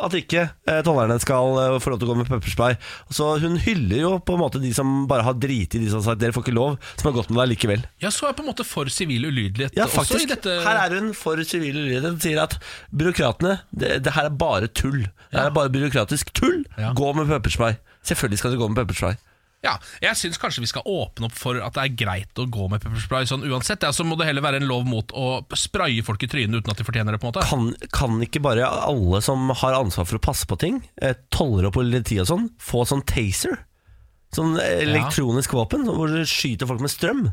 at ikke eh, tollerne skal eh, få lov til å gå med pepperspray. Så hun hyller jo på en måte de som bare har driti i de som har sagt dere får ikke lov, som har gått med deg likevel.
Ja, så er jeg på en måte for sivil ulydighet
Ja,
også i
faktisk.
dette.
Her er hun for sivil ulydighet. Hun sier at byråkratene det, det her er bare tull. Det her er bare byråkratisk tull.
Ja.
Gå med pepperspray. Selvfølgelig skal du gå med pepperspray.
Ja, jeg syns kanskje vi skal åpne opp for at det er greit å gå med pepperspray sånn uansett. Ja, så må det heller være en lov mot å spraye folk i trynet uten at de fortjener det, på en måte.
Kan, kan ikke bare alle som har ansvar for å passe på ting, eh, toller og politi og sånn, få sånn taser? Sånn elektronisk våpen hvor du skyter folk med strøm?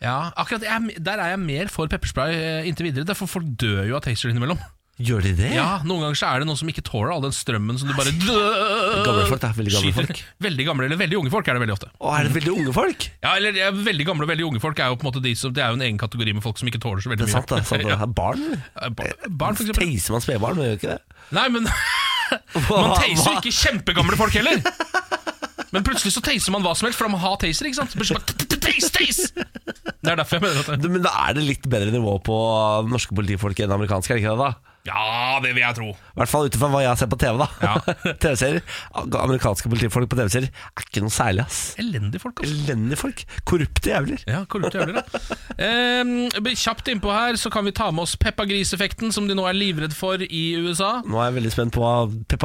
Ja, akkurat jeg, Der er jeg mer for pepperspray eh, inntil videre. Derfor folk dør jo av taser innimellom.
Gjør de det?
Ja, Noen ganger så er det noen som ikke tåler all den strømmen som du bare
Gamle folk, det er veldig gamle
Skyter.
folk.
Veldig gamle eller veldig unge folk er det veldig ofte.
Å, er det veldig unge folk?
Ja, eller ja, Veldig gamle og veldig unge folk er jo på en måte de som, det er jo en egen kategori med folk som ikke tåler så veldig
Det er sant, Eh, det.
mye.
Er sant, det.
Ja,
Er barn?
bar- Barn, for eksempel.
Taser man spedbarn, men gjør ikke det?
Nei, men Man taser jo ikke kjempegamle folk heller! Men plutselig så taser man hva som helst, for man har taser. ikke sant? Plutselig bare tase, tase! Det er derfor jeg mener at det.
Du, Men da er det litt bedre nivå på norske politifolk enn amerikanske, er det ikke det? da?
Ja, det vil jeg tro.
I hvert fall ut ifra hva jeg ser på TV, da.
Ja.
TV-serier. Amerikanske politifolk på TV-serier er ikke noe særlig, ass.
Elendige folk, altså.
Elendige folk. Korrupte jævler.
Ja, korrupte jævler, da. Ehm, kjapt innpå her så kan vi ta med oss Peppa Gris-effekten, som de nå er livredd for i USA.
Nå er jeg veldig spent på hva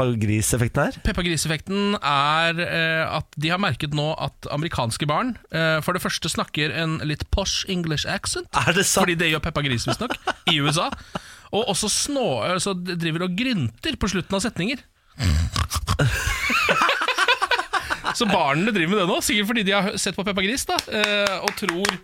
peppergriseffekten er.
Peppa Gris-effekten er eh, at de har merket nå at amerikanske barn eh, for det første snakker en litt posh English accent.
Er det sant?
Fordi det gjør Peppa Gris, visstnok, i USA. Og også snå, altså, d- driver og grynter på slutten av setninger. Så barnene driver med det nå, sikkert fordi de har hø- sett på Peppa Gris da, eh, og tror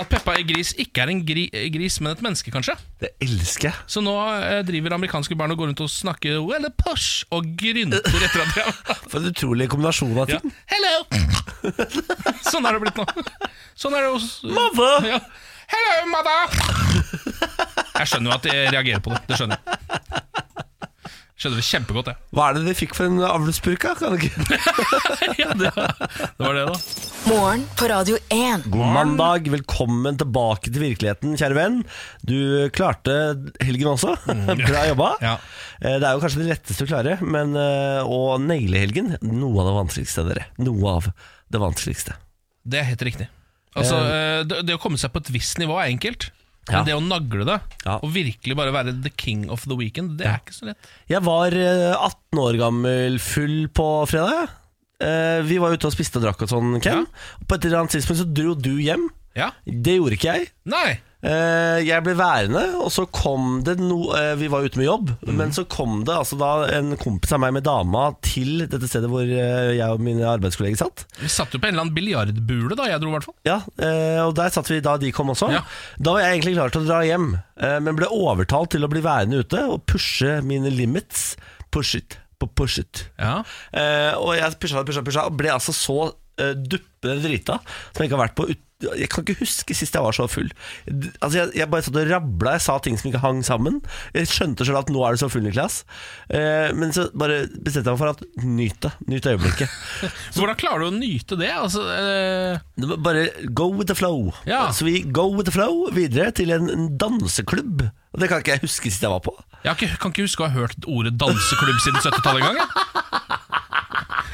at Peppa Gris ikke er en gri, gris, men et menneske, kanskje.
Det elsker jeg.
Så nå eh, driver amerikanske barn og går rundt og snakker well, a posh, og grynter etter at de har
For en utrolig kombinasjon av ting.
Hello! sånn er det blitt nå. Sånn er det også
Mother!
Ja. Hello, mother! Jeg skjønner jo at de reagerer på det. Det skjønner jeg. Skjønner det kjempegodt, jeg.
Hva er det de fikk for en avlspurke? Kan du ikke?
Ja, det, det var det, da.
Morgen på Radio 1.
God mandag, velkommen tilbake til virkeligheten, kjære venn. Du klarte helgen også. Bra jobba.
Mm. Ja.
Eh, Det er jo kanskje det letteste å klare, men eh, å naile helgen Noe av det vanskeligste, dere. Noe av det vanskeligste.
Det er helt riktig. Altså, eh, det, det å komme seg på et visst nivå er enkelt.
Ja.
Men det å nagle det,
Ja.
og virkelig bare være the king of the weekend, det er ikke så lett.
Jeg var eh, 18 år gammel full på fredag. Eh, Vi var ute og spiste og drakk og sånn, Ken.
Ja.
På et eller annet tidspunkt så dro du hjem.
Ja?
Det gjorde ikke jeg.
Nei!
Eh, Jeg ble værende, og så kom det no eh, Vi var ute med jobb, men så kom det altså da en kompis av meg med dama til dette stedet hvor eh, jeg og mine arbeidskolleger satt.
Vi satt jo på en eller annen biljardbule da jeg dro, i hvert fall.
Ja, eh, og der satt vi da de kom også.
Ja.
Da var jeg egentlig klar til å dra hjem, eh, men ble overtalt til å bli værende ute og pushe mine limits. Push it, på push it.
Ja.
Eh, og jeg pusha, pusha, pusha og ble altså så uh, duppende drita som jeg ikke har vært på ut jeg kan ikke huske sist jeg var så full. D- Altså Jeg, jeg bare satt og rabla, jeg sa ting som ikke hang sammen. Jeg skjønte selv at nå er du så full, Niklas. Eh, men så bare bestemte jeg meg for at nyt det. Nyt øyeblikket.
Så hvordan klarer du å nyte det? Altså, eh,
Det var Bare go with the flow.
Ja.
Så vi go with the flow videre til en, en danseklubb. Og det kan ikke jeg huske sist jeg var på.
Jeg har ikke, kan ikke huske å ha hørt ordet danseklubb siden 70-tallet engang. jeg.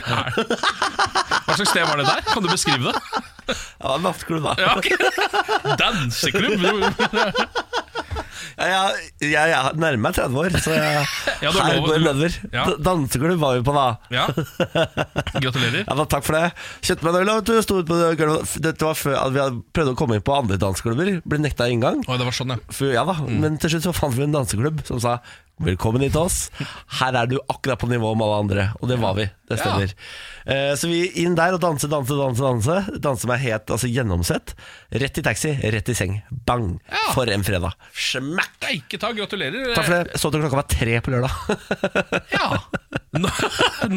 Nei. Hva slags sted var det der? Kan du beskrive det?
Ja, det var en nattklubb da
Ja, ok. Danseklubb?
Jeg jeg, jeg, jeg nærmer meg 30 år, så jeg,
Ja, du er
her
lov-
går det
du-
nedover.
Ja.
Da- Danseklubb var vi på, da.
Ja. Gratulerer.
Ja, da, takk for det. Kjøpte meg en øl, da, vet du. Sto ut på gulvet. Dette var før at vi hadde prøvd å komme inn på andre danseklubber. Ble nekta inngang.
Oi, det var sånn, ja.
For, ja da, Men til slutt så fant vi en danseklubb som sa Velkommen hit til oss. Her er du akkurat på nivå med alle andre. Og det var vi. Det stemmer. Eh, så vi inn der og danse, danse, danse. Danse Danse meg helt altså gjennomsett. Rett i taxi, rett i seng. Bang!
Ja.
For en fredag. Smack!
Ikke ta, gratulerer.
Takk for det. Eh, Så til klokka var tre på lørdag.
Ja. Når,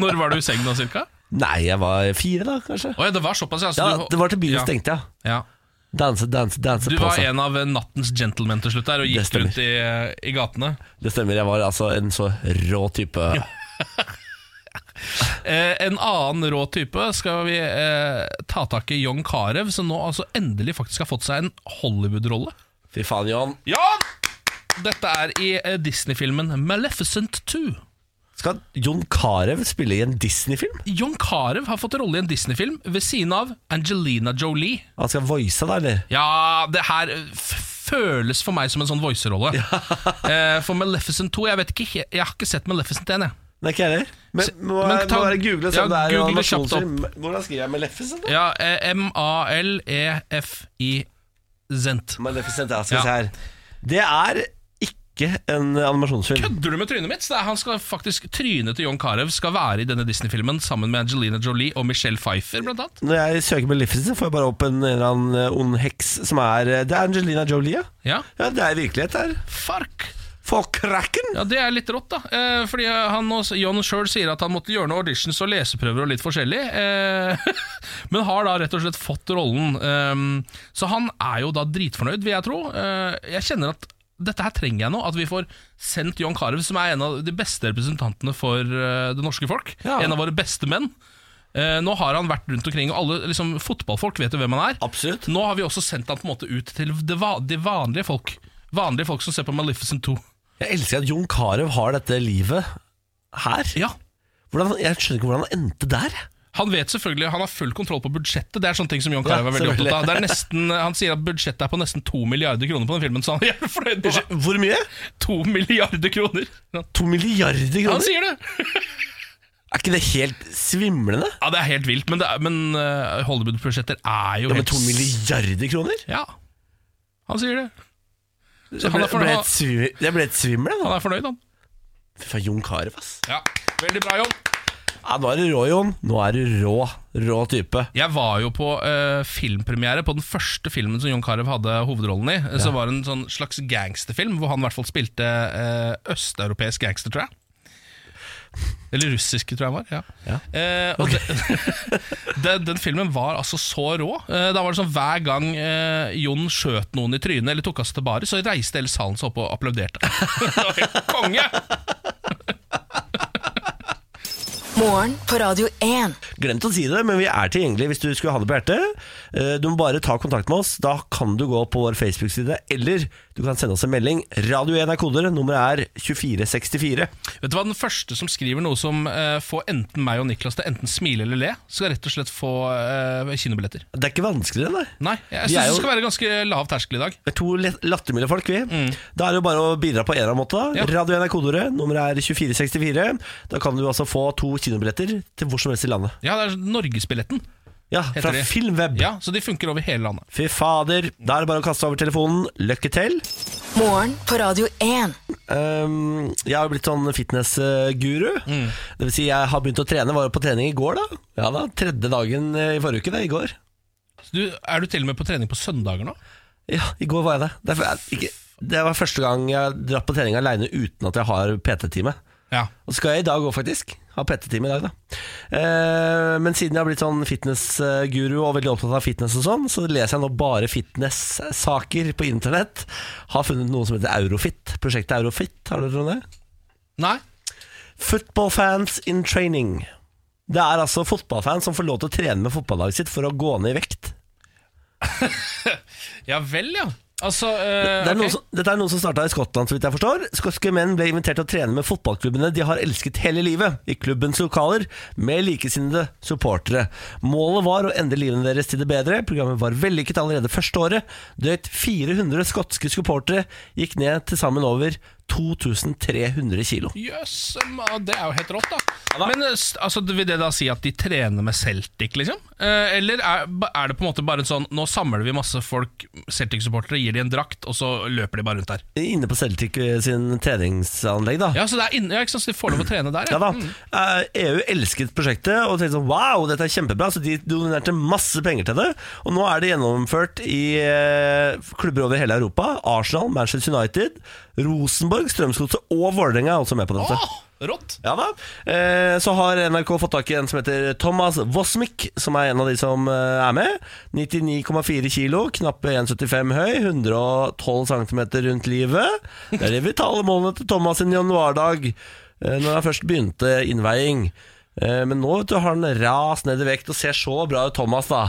når var du i seng nå, cirka?
Nei, jeg var fire, da, kanskje.
Å ja, det var såpass, ja. så
Ja,
du-
Det var til byen
ja.
stengte, ja.
Ja.
Danse, danse, danse
Du
på
var
seg.
en av nattens gentlemen til slutt der, og
Det
gikk
stemmer.
rundt i, eh, i gatene.
Det stemmer, jeg var altså en så rå type.
Eh, en annen rå type skal vi eh, ta tak i John Carew, som nå altså endelig faktisk har fått seg en Hollywood-rolle.
Fy faen, Johan.
Jan! Dette er i eh, Disney-filmen Maleficent 2.
Skal Jon Carew spille i en Disney-film?
John Carew har fått rolle i en Disney-film ved siden av Angelina Jolie.
Han skal voice da, eller?
Ja, det her eh, f- føles for meg som en sånn voicerolle. eh, for Maleficent 2 Jeg vet ikke, he- jeg har ikke sett Maleficent 1, jeg.
Nei, ikke jeg heller. Men må,
men
jeg-
ta-
må bare google og se
ja,
om det er en
google det kjapt
animasjonsfilm. Hvordan skriver jeg Maleficent? da?
Ja, eh, E M-A-L-E-F-I-Zent.
Maleficent, ja, skal vi
Ja.
se her. Det er ikke en animasjonsfilm.
Kødder du med trynet mitt? Så det er, han skal faktisk Trynet til John Carew skal være i denne Disney-filmen sammen med Angelina Jolie og Michelle Pfeiffer, blant annet.
Når jeg søker Maleficent, så får jeg bare opp en eller annen eh, ond heks som er eh, Det er Angelina Jolie, ja.
Ja,
ja det er virkelighet, det her.
fark!
For krakken!
Ja, Det er litt rått, da. Eh, fordi han og John sjøl sier at han måtte gjøre noen auditions og leseprøver og litt forskjellig. Eh, men har da rett og slett fått rollen. Eh, så han er jo da dritfornøyd, vil jeg tro. Eh, jeg kjenner at dette her trenger jeg nå. At vi får sendt John Carew, som er en av de beste representantene for eh, det norske folk.
Ja.
En av våre beste menn. Eh, nå har han vært rundt omkring, og alle liksom, fotballfolk vet jo hvem han er.
Absolutt.
Nå har vi også sendt han på en måte ut til det, va de vanlige folk. Vanlige folk som ser på Maleficent 2.
Jeg elsker at Jon Carew har dette livet her.
Ja,
Hvordan, jeg skjønner ikke hvordan han endte der.
Han vet selvfølgelig, han har full kontroll på budsjettet. Det er sånne ting som John Carew
Ja,
er veldig
selvfølgelig.
opptatt av. Det er nesten, Han sier at budsjettet er på nesten 2 milliarder kroner på den filmen, så han er jævlig fornøyd med det.
Hvor mye?
2 milliarder kroner! Ja,
To milliarder
Han
kroner?
sier det!
Er ikke det helt svimlende?
Ja, Det er helt vilt, men, det er- men eh, Hollywood-budsjetter er jo
Ja, men
helt
to milliarder kroner?
Ja, han sier det.
Jeg
Så han
ble,
er, fornøyd,
ble et
han,
svi- jeg ble et svimmel, jeg. nå.
han er fornøyd, han.
Fy faen, Jon Carew, ass.
Ja, Veldig bra, John.
Ja, nå er du rå, Jon. Nå er du rå. Rå type.
Jeg var jo på eh, filmpremiere på den første filmen som John Carew hadde hovedrollen i. Så var det en sånn slags gangsterfilm hvor han i hvert fall spilte eh, østeuropeisk gangster, tror jeg. Eller russiske, tror jeg han var. Ja.
Ja.
Eh, og det, den, den filmen var altså så rå. Eh, da var det sånn Hver gang eh, Jon skjøt noen i trynet eller tok av seg til baret, så reiste hele salen seg opp og applauderte. det var helt konge!
Morgen på Radio 1.
Glemt å si det, men vi er tilgjengelige hvis du skulle ha det på hjertet. Eh, Du må bare ta kontakt med oss. Da kan du gå på vår Facebook-side, eller du kan sende oss en melding. Radio 1 er koder. Nummeret er 2464.
Vet du hva, Den første som skriver noe som eh, får enten meg og Niklas til enten smile eller le, skal rett og slett få eh, kinobilletter.
Det er ikke vanskeligere, nei.
Nei, jeg
Vi er
syns
jo-
det skal være ganske lav terskel i dag.
Vi er to lett- lattermilde folk, vi. Da er det jo bare å bidra på en eller annen måte. da
Mm. Ja.
Radio 1 er kodeordet. Nummeret er 2464. Da kan du altså få to kinobilletter til hvor som helst i landet.
Ja, det er Norgesbilletten.
Ja, fra
det.
Filmweb.
Ja, så de funker over hele landet.
Fy fader. Da er det bare å kaste over telefonen. Lykke til.
Morgen på Radio 1.
Um, jeg har jo blitt sånn fitness-guru. Det vil si, jeg har begynt å trene. Var jo på trening i går, da. Ja da, Tredje dagen eh, i forrige uke. Det, I går
Så du, er du til og med på trening på søndager nå?
Ja, i går var jeg det. Derfor, er jeg, ikke, det var første gang jeg dratt på trening aleine uten at jeg har PT-time.
Ja.
Og så skal jeg i dag òg, faktisk. Ha PT-time i dag, da. Eh, men siden jeg har blitt sånn fitness-guru og veldig opptatt av fitness og sånn, så leser jeg nå bare fitness-saker på internett. Har funnet noe som heter Eurofit. Prosjektet Eurofit, har dere trodd det?
Nei?
Football fans in training. Det er altså fotballfans som får lov til å trene med fotballaget sitt for å gå ned i vekt.
Ja vel, ja. Altså, eh,
Det er
ok.
noen som, dette er noen som starta i Skottland, så vidt jeg forstår. Skotske menn ble invitert til å trene med fotballklubbene de har elsket hele livet, i klubbens lokaler, med likesinnede supportere. Målet var å endre livene deres til det bedre. Programmet var vellykket allerede første året. Drøyt 400 skotske supportere gikk ned til sammen over 2300 kilo.
Jøss, ma- det er jo helt rått, da.
da.
Men eh, s- altså, Vil det da si at de trener med Celtic, liksom? Eh, Eller er, ba- er det på en måte bare en sånn Nå samler vi masse folk, Celtic-supportere, gir de en drakt, og så løper de bare rundt der?
Inne på Celtic eh, sin treningsanlegg, da.
Ja, så det er inne, ja, ikke sant, så de får lov å trene der,
Ja da.
Mm.
Eh, EU elsket prosjektet og tenkte sånn wow, dette er kjempebra. Så de donerte masse penger til det. Og nå er det gjennomført i eh, klubber over hele Europa. Arsenal, Manchester United, Rosenborg, Strømsgodset og Vålerenga er også med på dette.
Åh, rått!
Ja da. Eh, så har NRK fått tak i en som heter Thomas Wosmik, som er en av de som eh, er med. 99,4 kilo, knappe 1,75 høy, 112 cm rundt livet. Det er de vitale målene til Thomas sin januardag, eh, når han først begynte innveiing. Eh, men nå vet du, har han ras ned i vekt og ser så bra ut, Thomas, da.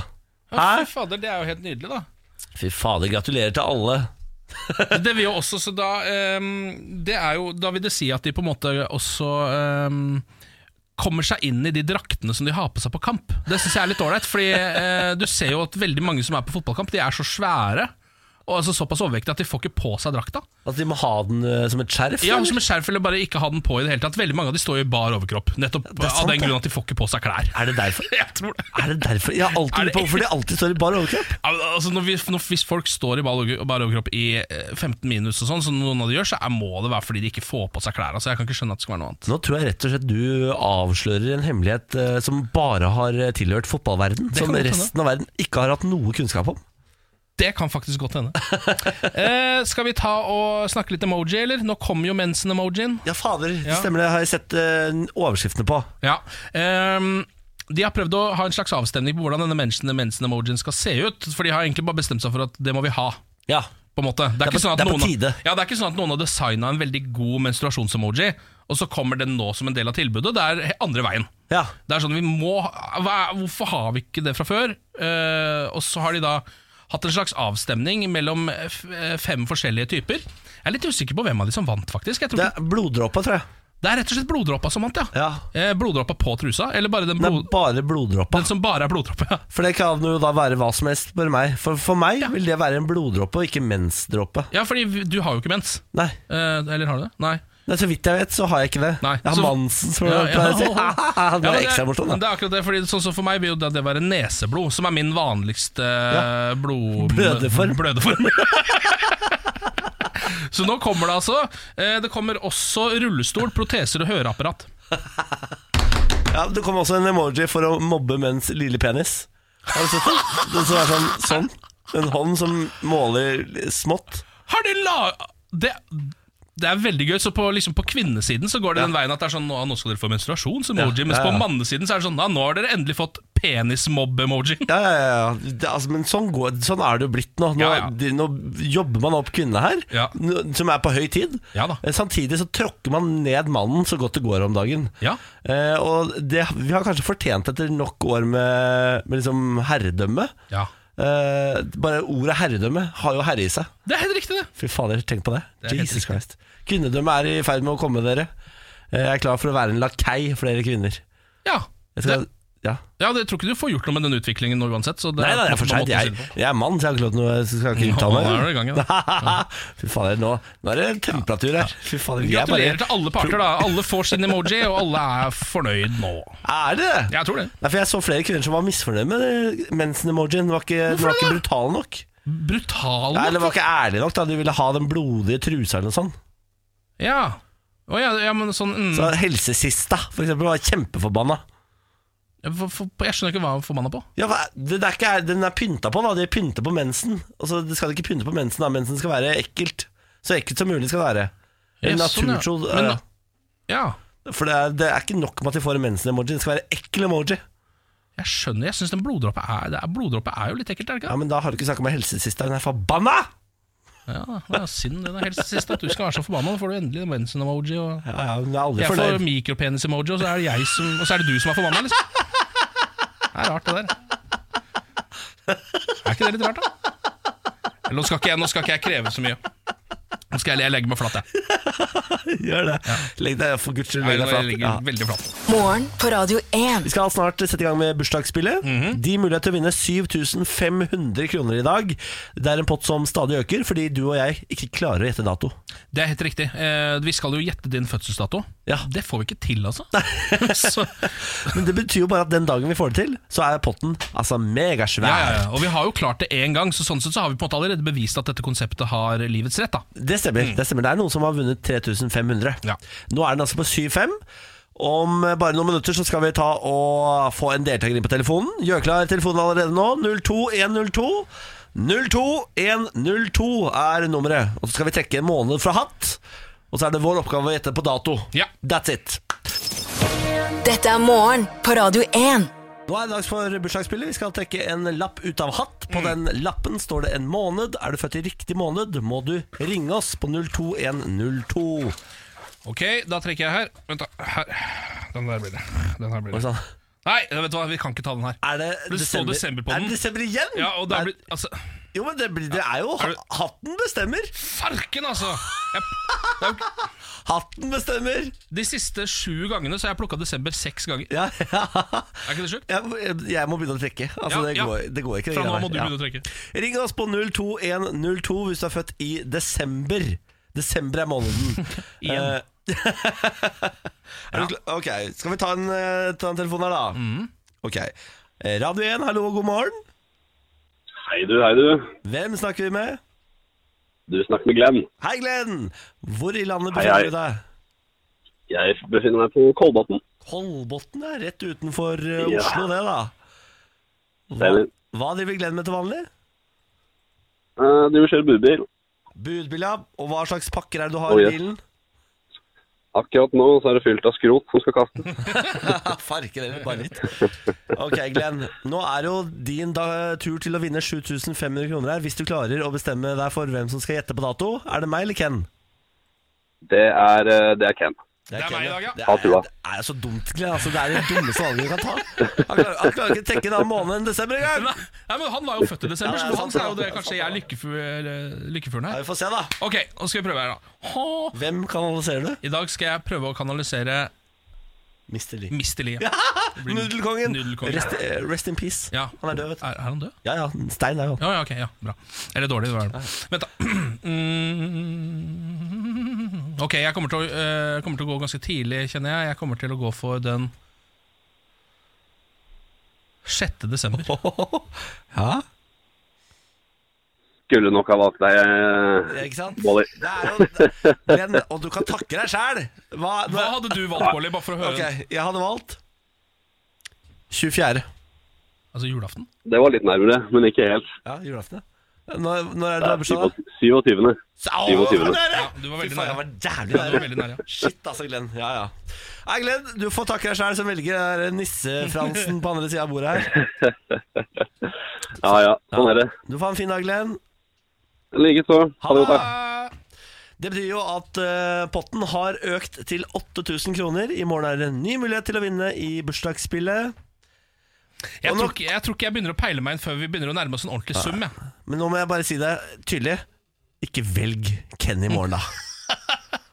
Ja,
Hæ?
fy fader, det er jo helt nydelig, da.
Fy fader, gratulerer til alle.
Det vil jo også, så da ehm, Det er jo, da vil det si at de på en måte også ehm, Kommer seg inn i de draktene som de har på seg på kamp. Det syns jeg er litt ålreit, Fordi eh, du ser jo at veldig mange som er på fotballkamp, de er så svære. Og altså såpass overvektige at de får ikke på seg drakta.
At de må ha den eh, som et skjerf?
Ja,
eller?
Som et skjerf eller bare ikke ha den på i det hele tatt. Veldig mange av de står jo i bar overkropp. Nettopp
er sant,
av den
det.
grunn at de får ikke på seg klær.
Er det derfor?
Jeg tror det
Er det derfor? Jeg har alltid
Er
lurt
det-
på hvorfor de alltid står i bar overkropp.
Ja, men Altså, når vi, når, hvis folk står i bar overkropp- bar overkropp i eh, 15 minus, og sånn som noen av de gjør, så er, må det være fordi de ikke får på seg klær. Altså, jeg kan ikke skjønne at det skal være noe annet.
Nå tror jeg rett og slett du avslører en hemmelighet eh, som bare har eh, tilhørt fotballverden
Det
Som
kan godt hende.
resten av verden ikke har hatt noe kunnskap om.
Det kan faktisk godt hende. eh, skal vi ta og snakke litt emoji, eller? Nå kommer jo mensen-emojien.
Ja, fader, det
Ja.
stemmer det. Har jeg sett eh, overskriftene på.
Ja. ehm, de har prøvd å ha en slags avstemning på hvordan denne mensen- mensen-emojien skal se ut. For de har egentlig bare bestemt seg for at det må vi ha.
Ja.
På en måte. Det er,
på-
ikke sånn at
det er på
noen,
tide.
Ja, det er ikke sånn at noen har designa en veldig god menstruasjonsemoji, og så kommer den nå som en del av tilbudet. Det er he- andre veien.
ja.
Det er sånn vi må ha- hva, er- Hvorfor har vi ikke det fra før? Eh, og så har de da hatt en slags avstemning mellom eh, f eh, fem forskjellige typer. Jeg er litt usikker på hvem av de som vant, faktisk. Jeg tror
Det
det,
er bloddråpa, tror jeg.
ikke, det er rett og slett bloddråpa som vant, ja.
Ja.
Eh, bloddråpa på trusa, eller bare den,
Det
blod,
er bare bloddråpa.
den som bare er bloddråpe. Ja.
For det kan jo da være hva som helst, spør meg. For, for meg vil det være en bloddråpe, og ikke mensdråpe.
ja, fordi vi- du har jo ikke mens.
Nei.
Eh, eller har du det? Nei.
Nei, så vidt jeg vet, så har jeg ikke det.
Nei,
Jeg har
så-
Mansen, som
Ja,
jeg pleier å si.
ja.
det
Ja,
er
men
ekstra morsomt, da.
Det er akkurat det, fordi sånn som For meg vil jo det, det være neseblod, som er min vanligste eh, blod...
Blødeform.
blødeform. Så nå kommer det altså eh, Det kommer også rullestol, proteser og høreapparat.
Ja, Det kom også en emoji for å mobbe menns lille penis. Har du sett den? Den som er sånn, sånn. En hånd som måler smått.
Har de la... Det, det er veldig gøy. Så på, liksom på kvinnesiden så går det den veien at det er sånn Nå, nå skal dere få menstruasjon, så emoji.
Ja,
Mens
ja, ja.
på mannesiden så er det sånn Ja, nå har dere endelig fått penismobb-emoji.
Ja, ja, ja, ja. Det, altså, men sånn, går, sånn er det jo blitt nå. Nå,
Ja, ja.
de, nå jobber man opp kvinnene her,
Ja.
nå- som er på høy tid.
Ja da.
Eh, Samtidig så tråkker man ned mannen så godt det går om dagen.
Ja.
Eh, og det, vi har kanskje fortjent etter nok år med, med liksom herredømme.
Ja.
Eh, bare ordet herredømme har jo herre i seg.
Det er helt riktig, det.
Fy fader, tenk på det.
er helt
Jesus
riktig.
Christ. Kvinnedømme er i ferd med å komme, dere. Eh, Jeg er klar for å være en lakei for dere kvinner.
Ja.
Jeg skal,
Det-
ja.
Ja, det tror ikke du får gjort noe med den utviklingen nå uansett. Så det
Nei,
er
nei,
på en
det er for seint. Jeg,
måte måten å si det på.
jeg er mann, så jeg har ikke lov til noe så skal jeg ikke uttale
Nå er du i
meg.
gang igjen.
Fy fader, nå, nå er det temperatur her. Fy fader, vi er
Gratulerer
bare
til alle parter, da. Alle får sin emoji, og alle er fornøyd nå.
Er det det?
Jeg tror det.
Nei, for jeg så flere kvinner som var misfornøyd med det. mensen-emojien. Den var ikke, den var ikke brutal nok.
Brutal
Nei,
nok.
Den var ikke ærlig nok. da De ville ha den blodige trusa eller noe sånt.
Ja. Å ja, ja, men sånn mm,
Så Helsesista for eksempel, var kjempeforbanna.
jeg, for, for, jeg skjønner ikke hva han er forbanna på.
Ja, hva- det, det er ikke, den er pynta på, da. De pynter på mensen. Altså, det skal ikke pynte på mensen, da. Mensen skal være ekkelt. Så ekkelt som mulig skal det være. En
Ja, sånn, ja.
naturtro
Men
eh,
da- Ja.
For det er, det er ikke nok med at de får en mensen-emoji. Det skal være ekkel emoji.
Jeg skjønner, jeg syns den bloddråpa er, det er, bloddråpe er jo litt ekkelt, er det
Ja,
ikke?
Men da har du ikke snakka med helsesista. Hun er forbanna!
det? Ja, ja Synd den er helt sist at du skal være så forbanna. Da får du endelig mensen-emoji. og...
Ja, ja, hun er aldri
Jeg får
fornøyd.
mikropenis-emoji, og, så er det jeg som- og så er det du som er forbanna, liksom. Det er rart, det der. Er ikke det litt rart, da? Nå skal ikke jeg, nå skal ikke jeg kreve så mye. Nå skal jeg, jeg legge meg flat, jeg.
Gjør det. Legg deg for guds skyld legg
jeg, nå-
deg
jeg
flat.
ligger
Ja.
veldig flat.
Morgen på Radio
Vi
1.
skal snart sette i gang med bursdagsspillet.
Mhm.
De mulighet til å vinne 7500 kroner i dag. Det er en pott som stadig øker, fordi du og jeg ikke klarer å gjette dato.
Det er helt riktig. Eh, vi skal jo gjette din fødselsdato.
Ja.
Det får vi ikke til, altså. så,
Men det betyr jo bare at den dagen vi får det til, så er potten altså megasvær.
ja, ja, ja. Og vi har jo klart det én gang, så sånn sett så har vi på en måte allerede bevist at dette konseptet har livets rett. da
Det stemmer. Det stemmer. Det er noen som har vunnet 3500.
Mm. Ja.
Nå er den altså på 7-5. Om bare noen minutter så skal vi ta og få en deltaker inn på telefonen. Gjør klar telefonen allerede nå. 02102. 02102 er nummeret. Og så skal vi trekke en måned fra hatt. Og så er det vår oppgave å gjette på dato.
Ja.
That's it.
Dette er morgen på Radio 1.
Nå er det dags for bursdagsspillet. Vi skal trekke en lapp ut av hatt.
Mm.
På den lappen står det en måned. Er du født i riktig måned, må du ringe oss på 02102.
Ok, da trekker jeg her. Vent, da. Her. Den der blir det. Den her blir
Og
det.
sånn.
Nei, vet du hva, vi kan ikke ta den her.
Er det,
Det står desember på
Er
den.
det desember igjen?
Ja, og da
Nei,
blir, altså
Jo, men det, blir, det er jo
det-
Hatten bestemmer!
Farken, altså! Jeg, det er jo ikke-
Hatten bestemmer!
de siste sju gangene så har jeg plukka desember seks ganger.
Ja, ja.
Er ikke det sjukt?
Jeg, jeg må begynne å trekke. Altså,
Ja,
det,
ja.
går, det går ikke. det
Fra nå
greia
må
der.
du
Ja.
begynne å trekke.
Ring oss på 02102 hvis du er født i desember. Desember er måneden.
Igjen.
Eh, er du klar? Ok, skal vi ta en, eh, ta en telefon her, da? Ok. Eh, Radio 1, hallo, god morgen.
Hei du, hei du.
Hvem snakker vi med?
Du snakker med Glenn.
Hei, Glenn! Hvor i landet
Hei,
befinner
hei.
du deg?
Jeg befinner meg på Kolbotn.
Kolbotn er rett utenfor eh,
Ja.
Oslo, det da. Hva,
Stemmer.
hva driver Glenn med til vanlig?
Eh, Du kjører budbil.
Budbil, ja. Og hva slags pakker er det du har
Å,
i
ja.
bilen?
Akkurat nå så er det fylt av skrot som skal kastes.
Farken eller bare litt. Ok, Glenn. Nå er jo din da, tur til å vinne 7500 kroner her, hvis du klarer å bestemme deg for hvem som skal gjette på dato. Er det meg eller Ken?
Det er, eh, det er Ken.
Det er meg i dag, ja.
Det
Ha
er,
trua.
det er så dumt, Glenn. Altså, det er det dummeste valget du kan ta. Han klarer, han klarer ikke å trekke en annen måned enn desember engang.
Nei, nei, men Han var jo født i desember,
Ja, det
så
er
for han
sant,
er jo
det
det
er sant,
kanskje jeg er lykkefugl- lykkefuglen
Ja,
her.
vi får se, da.
Ok, nå skal vi prøve her, da. Ha.
Hvem kanaliserer du?
I dag skal jeg prøve å kanalisere
Mr. Lee.
Mr. Lee. Det blir-
Nudelkongen.
Nudelkongen.
Rest, eh, rest in peace.
Ja.
Han er død, vet du.
Er, er han død?
Ja, ja, Stein er jo
Ja, ja, ok, ja, bra. Eller dårlig, det var det. Vent, da. Mm. Ok, jeg kommer til, å, eh, kommer til å gå ganske tidlig, kjenner jeg. Jeg kommer til å gå for den 6. desember.
Ja,
Skulle nok ha valgt deg, eh,
ikke sant?
Bolly.
Det er jo, Glenn, og du kan takke deg sjæl! Hva,
Hva hadde du valgt, Bolly, bare for å høre?
Ok, jeg hadde valgt 24.
Altså julaften?
Det var litt nærmere, men ikke helt.
Ja, julaften, ja. Når, når er
Det
det
er
bursdag, da?
27. 27.
Au,
27.
hvor nære!
Ja, du var
Fy
veldig
faen, jeg
nær.
var jævlig
Ja, du var
nær.
veldig nær, ja.
Shit, altså, Glenn. Ja, ja. Nei, Glenn, du får takke deg sjæl som velger den der nissefransen på andre sida av bordet her.
Ja ja, sånn er det.
Du får ha en fin dag, Glenn.
Likeså. Ha det godt. da.
Ah,
Det betyr jo at eh, potten har økt til 8000 kroner. I morgen er det en ny mulighet til å vinne i bursdagsspillet.
Jeg
Og
tror,
nå-
ikke, jeg tror ikke jeg begynner å peile meg inn før vi begynner å nærme oss en ordentlig sum. Jeg.
Men nå må jeg bare si det tydelig. Ikke velg Ken i morgen, da.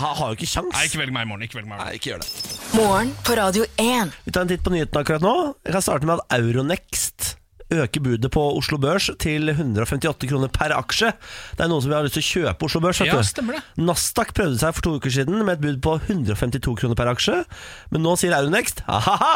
Han har jo ikke kjangs.
Nei, ikke velg meg i morgen. Ikke velg meg i morgen.
Nei, ikke gjør det.
Morgen på Radio 1.
Vi tar en titt på nyhetene akkurat nå. Jeg kan starte med at Euronext øker budet på Oslo Børs til 158 kroner per aksje. Det er noen som har lyst til å kjøpe Oslo Børs. vet
Ja,
du.
stemmer det.
Nasdaq prøvde seg for to uker siden med et bud på 152 kroner per aksje, men nå sier Euronext ha-ha-ha!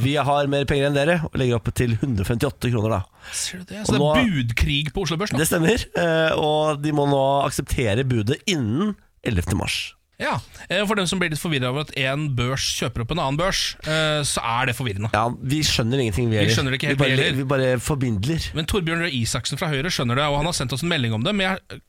Vi har mer penger enn dere, og legger opp til 158 kroner, da.
Ser du det? Så det
Og
er
nå-
budkrig på Oslo Børs nå?
Det stemmer, eh, og de må nå akseptere budet innen 11. mars.
Ja, eh, For dem som blir litt forvirra over at én børs kjøper opp en annen børs, eh, så er det forvirrende.
Ja, vi skjønner ingenting, vi
Vi
heller.
skjønner ikke helt,
vi,
vi
bare,
heller.
vi bare forbindler.
Men Torbjørn Røe Isaksen fra Høyre skjønner det, og han har sendt oss en melding om det, men jeg eh,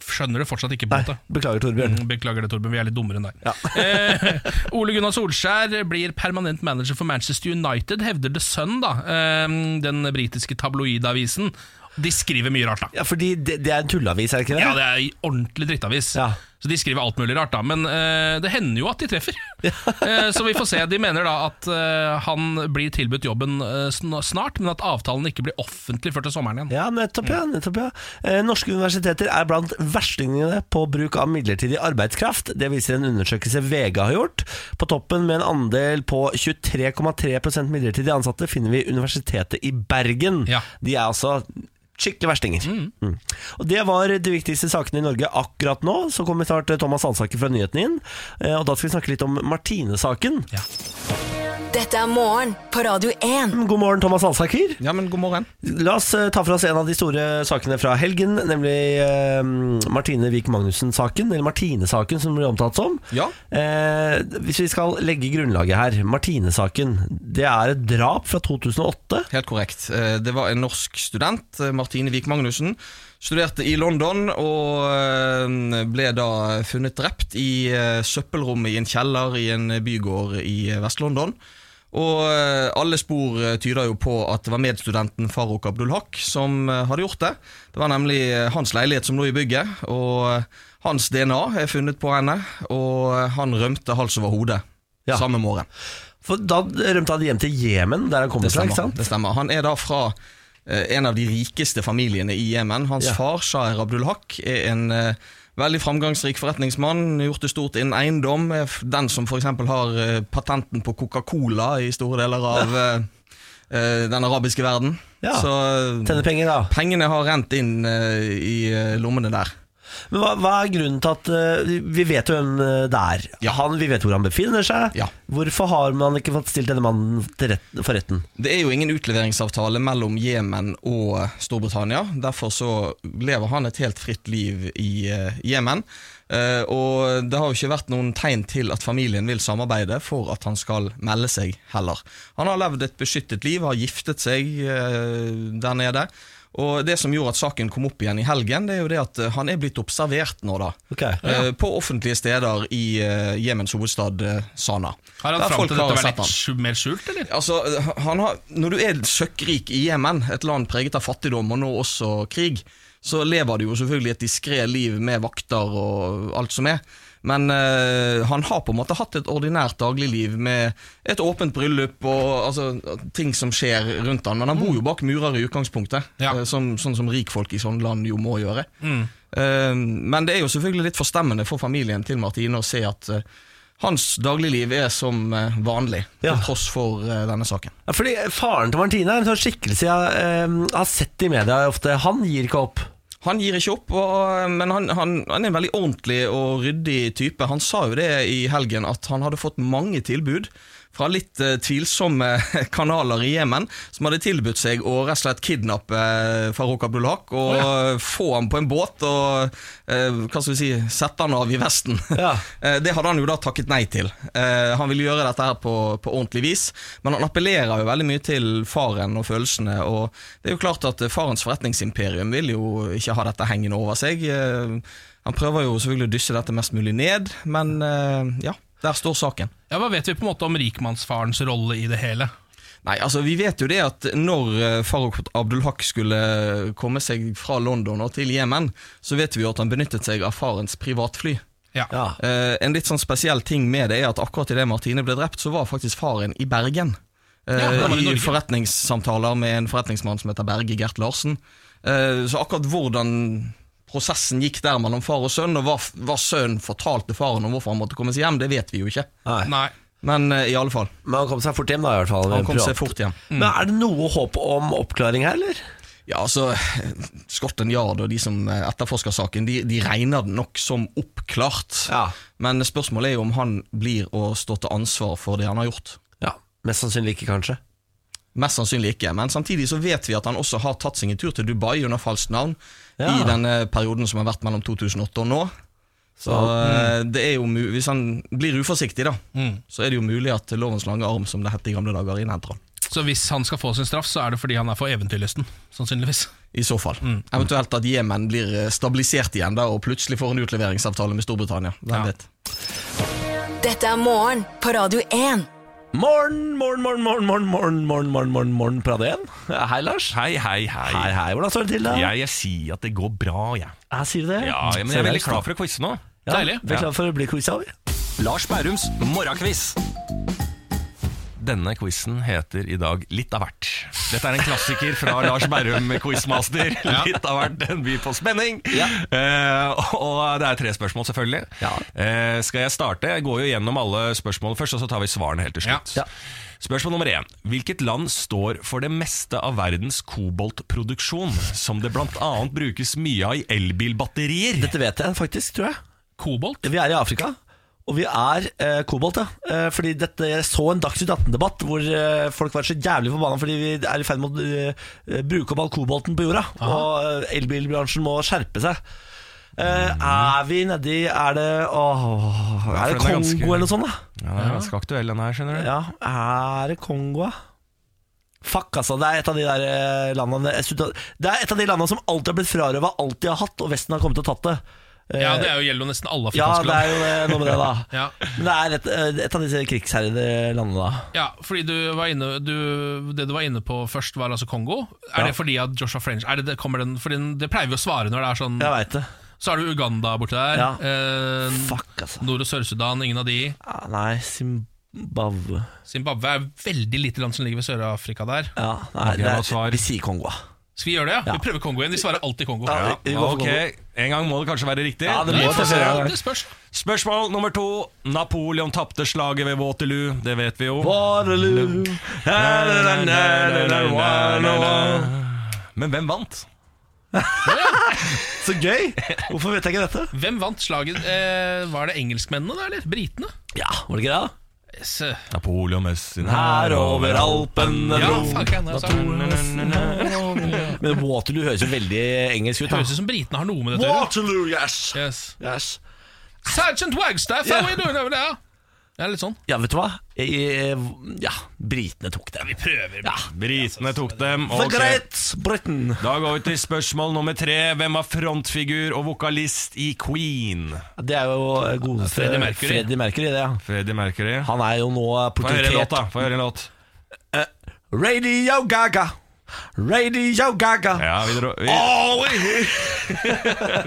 skjønner det fortsatt ikke. på
Nei,
en måte
beklager, Torbjørn.
Mm, Beklager det, Torben. Vi er litt dummere enn deg. eh, Ole Gunnar Solskjær blir permanent manager for Manchester United, hevder The Sun, da, eh, den britiske tabloidavisen. De skriver mye rart, da.
Ja, fordi det, det er en tullavis, er det ikke det?
Ja, det er en ordentlig drittavis.
Ja.
Så de skriver alt mulig rart, da. Men eh, det hender jo at de treffer. Eh, så vi får se. De mener da at eh, han blir tilbudt jobben eh, sn- snart, men at avtalen ikke blir offentlig før til sommeren igjen.
Ja, nettopp, ja. nettopp ja. Eh, Norske universiteter er blant verstingene på bruk av midlertidig arbeidskraft. Det viser en undersøkelse VG har gjort. På toppen med en andel på 23,3 midlertidig ansatte finner vi Universitetet i Bergen.
Ja.
De er altså skikkelig verstinger. Mm. Og Det var de viktigste sakene i Norge akkurat nå. Så kommer snart eh, Thomas Alsaker fra nyhetene inn. Eh, Og da skal vi snakke litt om Martine-saken.
Dette er morgen på Radio 1.
God morgen, Thomas Alsaker.
Ja, men god morgen.
La oss eh, ta for oss en av de store sakene fra helgen, nemlig eh, Martine Vik Magnussen-saken, eller Martine-saken som det blir omtalt som.
Ja.
Eh, hvis vi skal legge grunnlaget her, Martine-saken, det er et drap fra 2008.
Helt korrekt. Eh, Det var en norsk student, eh, Martine Wiik Magnussen. Studerte i London og eh, ble da funnet drept i eh, søppelrommet i en kjeller i en bygård i eh, Vest-London. Og eh, alle spor eh, tyder jo på at det var medstudenten Farouk Abdulhak som eh, hadde gjort det. Det var nemlig eh, hans leilighet som lå i bygget, og eh, hans DNA er funnet på henne. Og eh, han rømte hals over hode
Ja.
samme morgen.
For da rømte han hjem til Jemen, der han kommer
Det
fra. ikke
stemmer.
sant?
Det stemmer. Han er da fra eh, en av de rikeste familiene i Jemen. Hans
Ja.
far, Shair Abdul Haq, er en eh, veldig framgangsrik forretningsmann. Gjort det stort innen eiendom. Er f- den som f.eks. har eh, patenten på Coca-Cola i store deler av eh, eh, den arabiske verden.
Ja.
Så eh,
Tjener penger, da.
pengene har rent inn eh, i eh, lommene der.
Men hva, hva er grunnen til at eh, Vi vet jo hvem eh, det er.
Ja.
Han, vi vet hvor han befinner seg.
Ja.
Hvorfor har man ikke fått stilt denne mannen til rett, for retten?
Det er jo ingen utleveringsavtale mellom Jemen og Storbritannia. Derfor så lever han et helt fritt liv i eh, Jemen. Eh, og det har jo ikke vært noen tegn til at familien vil samarbeide for at han skal melde seg heller. Han har levd et beskyttet liv, har giftet seg eh, der nede. Og det som gjorde at saken kom opp igjen i helgen, det er jo det at eh, han er blitt observert nå, da.
Ok.
Eh, på offentlige steder i eh, Jemens hovedstad eh, Sana.
Har han
Der
fram
folk
til dette
har
vært
sett han.
litt skj- mer skjult, eller?
Altså, han har, Når du er søkkrik i Jemen, et land preget av fattigdom og nå også krig, så lever du jo selvfølgelig et diskré liv med vakter og alt som er. Men eh, han har på en måte hatt et ordinært dagligliv med et åpent bryllup og altså, ting som skjer rundt han. Men han bor jo bak murer i utgangspunktet,
Ja.
eh, som, sånn som rikfolk i sånne land jo må gjøre.
Mm.
Eh, men det er jo selvfølgelig litt forstemmende for familien til Martine å se at eh, hans dagligliv er som eh, vanlig,
Ja.
til tross for eh, denne saken.
Ja, Fordi Faren til Martine er en sånn skikkelse jeg eh, har sett i media ofte. Han gir ikke opp.
Han gir ikke opp, og, eh, men han, han, han er en veldig ordentlig og ryddig type. Han sa jo det i helgen, at han hadde fått mange tilbud fra litt eh, tvilsomme kanaler i Jemen, som hadde tilbudt seg å rett og slett kidnappe eh, Farouk Abdulhak og eh, få ham på en båt og eh, hva skal vi si, sette han av i vesten.
Ja.
Eh, Det hadde han jo da takket nei til. Eh, Han ville gjøre dette her på, på ordentlig vis, men han appellerer jo veldig mye til faren og følelsene. Og det er jo klart at eh, farens forretningsimperium vil jo ikke ha dette hengende over seg. Eh, Han prøver jo selvfølgelig å dysse dette mest mulig ned, men eh, ja, der står saken.
Ja, Hva vet vi på en måte om rikmannsfarens rolle i det hele?
Nei, altså Vi vet jo det at når eh, Farouk Abdulhak skulle komme seg fra London og til Jemen, så vet vi jo at han benyttet seg av farens privatfly.
Ja,
Ja.
Eh, en litt sånn spesiell ting med det er at akkurat idet Martine ble drept, så var faktisk faren i Bergen. Eh,
Ja, han var i
I
Norge.
forretningssamtaler med en forretningsmann som heter Berge Gert Larsen. Eh, så akkurat hvordan prosessen gikk der mellom far og sønn, og hva, hva sønnen fortalte faren om hvorfor han måtte komme seg hjem, det vet vi jo ikke.
Nei.
Nei.
Men eh, i alle fall,
Men han kom seg fort hjem, da. i hvert fall
han kom
Privat.
seg fort hjem.
Mm.
Men Er det noe håp om oppklaring her, eller?
Ja, altså, Scotland Yard og de som eh, etterforsker saken, de, de regner den nok som oppklart.
Ja.
Men spørsmålet er jo om han blir å stå til ansvar for det han har gjort.
Ja, Mest sannsynlig ikke, kanskje.
Mest sannsynlig ikke, men samtidig så vet vi at han også har tatt seg en tur til Dubai under falskt navn
Ja.
i denne perioden som har vært mellom 2008 og nå. Så eh, det er jo mu Hvis han blir uforsiktig, da, så er det jo mulig at lovens lange arm, som det het i gamle dager, innhenter han.
Så hvis han skal få sin straff, så er det fordi han er for eventyrlysten, sannsynligvis.
I så fall. Eventuelt at Jemen blir eh, stabilisert igjen da, og plutselig får en utleveringsavtale med Storbritannia. Hvem
Ja.
vet.
Dette er morgen på Radio 1.
Morgen, morgen, morgen, morgen, morgen, morgen, morgen, morgen, morgen, morgen, Prad 1. Hei, Lars.
Hei, hei, hei.
Hei, hei. Hvordan står det til, da?
Jeg, jeg sier at det går bra, jeg.
Jeg sier det.
Ja, men jeg er liksom veldig klar for å quize nå.
ja,
Deilig.
Vi er klar for å bli quiza, vi.
Lars Bærums morgenquiz. Denne quizen heter i dag Litt av hvert. Dette er en klassiker fra Lars Berrum, quizmaster. Litt av hvert, en by på spenning. Eh, og det er tre spørsmål, selvfølgelig.
Ja.
Eh, skal jeg starte? Jeg går jo gjennom alle spørsmålene først, og så tar vi svarene helt til slutt.
Ja. Ja.
Spørsmål nummer én. Hvilket land står for det meste av verdens koboltproduksjon, som det bl.a. brukes mye av i elbilbatterier?
Dette vet jeg faktisk, tror jeg.
Kobolt?
Vi er i Afrika. Og vi er eh, kobolt, ja. Eh, fordi dette, jeg så en Dagsnytt 18-debatt hvor eh, folk var så jævlig forbanna fordi vi er i ferd med å eh, bruke opp all kobolten på jorda. Og eh, elbilbransjen må skjerpe seg. Eh, er vi nedi Er det åh,
Ja,
Er
for
det
den er
Kongo
ganske-
eller noe sånt, da?
Ja, den er ganske aktuell, den her, skjønner du.
Ja, er det Kongo, ja? Fuck, altså. Det er et av de der eh, landene jeg synes at- Det er et av de landene som alltid har blitt frarøva alt de har hatt, og Vesten har kommet og tatt det. Eh,
Ja, det er jo gjelder jo nesten alle
ja,
afrikanske
det er
land.
jo eh, noe med det, da.
Ja.
Men det er et, eh, et av disse krigsherrede landene, da.
Ja, fordi du var inne, du, Det du var inne på først, var altså Kongo. Er
Ja.
det fordi at Joshua French er det, det- kommer den, fordi den, Det pleier vi å svare når det er sånn.
Jeg veit det.
Så har du Uganda borti der.
Ja.
Eh,
Fuck, altså.
Nord- og Sør-Sudan, ingen av de.
Ah, Nei, Zimbabwe
Zimbabwe er veldig lite land som ligger ved Sør-Afrika der.
Ja, nei, det
hva svar?
er, vi sier Kongo. da.
Skal vi gjøre det? ja?
Ja.
Vi prøver Kongo igjen. De svarer alltid Kongo.
Ja, vi- vi går for
Ok, en gang må det kanskje være riktig.
Ja, det
Nei,
må
det,
det være.
det spørs.
Spørsmål nummer to. Napoleon tapte slaget ved Waterloo. Det vet vi jo.
Waterloo.
Men hvem vant?
Så gøy! Hvorfor vet jeg ikke dette?
Hvem vant slaget? Eh, var det engelskmennene, da, eller? Britene?
Ja, var det ikke det? da?
Yes. eh.
Napoleon med sin
Her over alpene
Ja,
dro
fuck, jeg, nå sa jeg det.
Men Waterloo høres jo veldig engelsk ut.
Det
da
høres ut som britene har noe med dette å gjøre.
Waterloo, yes!
Yes.
yes.
Sergeant Wagstaff,
Ja.
how are you doing over there? Ja, litt sånn.
Ja, vet du hva? Jeg, ja, britene tok det. Vi prøver. Ja.
Britene tok dem.
For
ok.
Great Britain.
Da går vi til spørsmål nummer tre. Hvem var frontfigur og vokalist i Queen?
Det er jo eh, godeste
Freddie Mercury.
Freddie Mercury, det, ja.
Freddie Mercury.
Han er jo nå eh,
Få høre en låt,
portrettert
da. Få høre en låt.
Radio Gaga Radio Gaga
Ja, vi, dro, vi,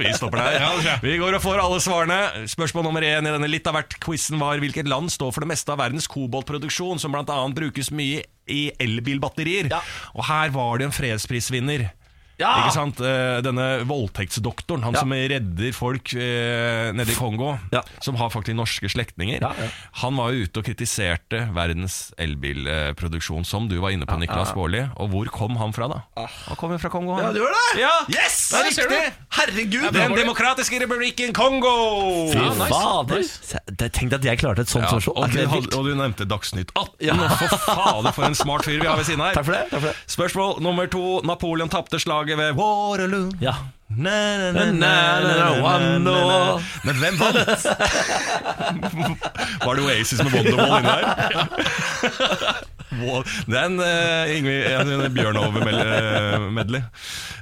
vi stopper der. Vi går og får alle svarene. Spørsmål nummer én i denne litt av hvert-quizen var hvilket land står for det meste av verdens koboltproduksjon, som bl.a. brukes mye i elbilbatterier.
Ja.
Og her var det en fredsprisvinner.
Ja.
Ikke sant? Eh, Denne voldtektsdoktoren, han
Ja.
som redder folk eh, nede i Kongo,
Ja.
som har faktisk norske slektninger,
Ja, ja.
han var jo ute og kritiserte verdens elbilproduksjon, som du var inne på, Niklas Baarli. Og hvor kom han fra, da? Han kom jo fra Kongo. han.
Ah. Ja, du gjør det?
Ja.
Yes!
Det er
Ja, ser
riktig!
du.
Herregud
Den demokratiske republikken Kongo!
Fy
Ja, nice,
fader
nice.
Se, det- Tenk deg at jeg klarte et sånt
Ja,
spørsmål
og,
Er
du
ikke det
hadde,
vilt?
og du nevnte Dagsnytt 18.
Ja.
For fader, for en smart fyr vi har ved siden her.
Takk for det, takk for det.
Spørsmål nummer to. Napoleon tapte slaget ved Waterloo.
Ja
Na, na, na,
Na, na, na, Wonderwall.
Men hvem vant? Var det Oasis med Wonderwall inne her? Wow. Det er en, eh, Yngvi- en, en Bjørnov-medley.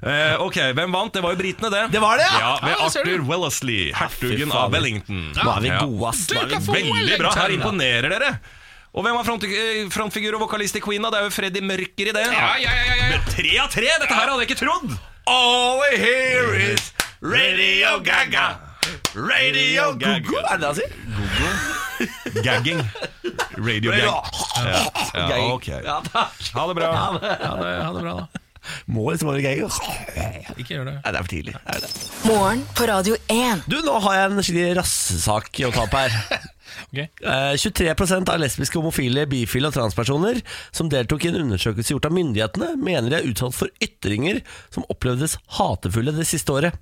eh, ok, hvem vant? Det var jo britene, det.
Det var det, ja.
ja! Ved
Ja, ser du.
Arthur Wellesley, hertugen
fader.
av Wellington.
Nå er vi
Ja.
gode, ass Nå er vi-
Duke of
Veldig bra. Her
Wellington.
imponerer dere. Og hvem var front, eh, frontfigur og vokalist i Queen? da? Det er jo Freddy Mørker i det.
Ja, ja, ja, ja, ja.
Tre av tre! Dette her hadde jeg ikke trodd!
All we hear is Radio Gaga Radio Gaga Er det det han sier?
Gagging. Radio
Ja.
gag. Ja, ok.
Ja, takk
Ha det bra.
Ha det, ha det bra, da.
Må liksom være gaga
Ikke gjør det.
Nei, det er for tidlig Det er det.
Morgen på Radio 1.
Du, nå har jeg en skikkelig rassesak å ta opp her.
Ok.
Eh, 23 av lesbiske, homofile, bifile og transpersoner som deltok i en undersøkelse gjort av myndighetene, mener de er utsatt for ytringer som opplevdes hatefulle det siste året.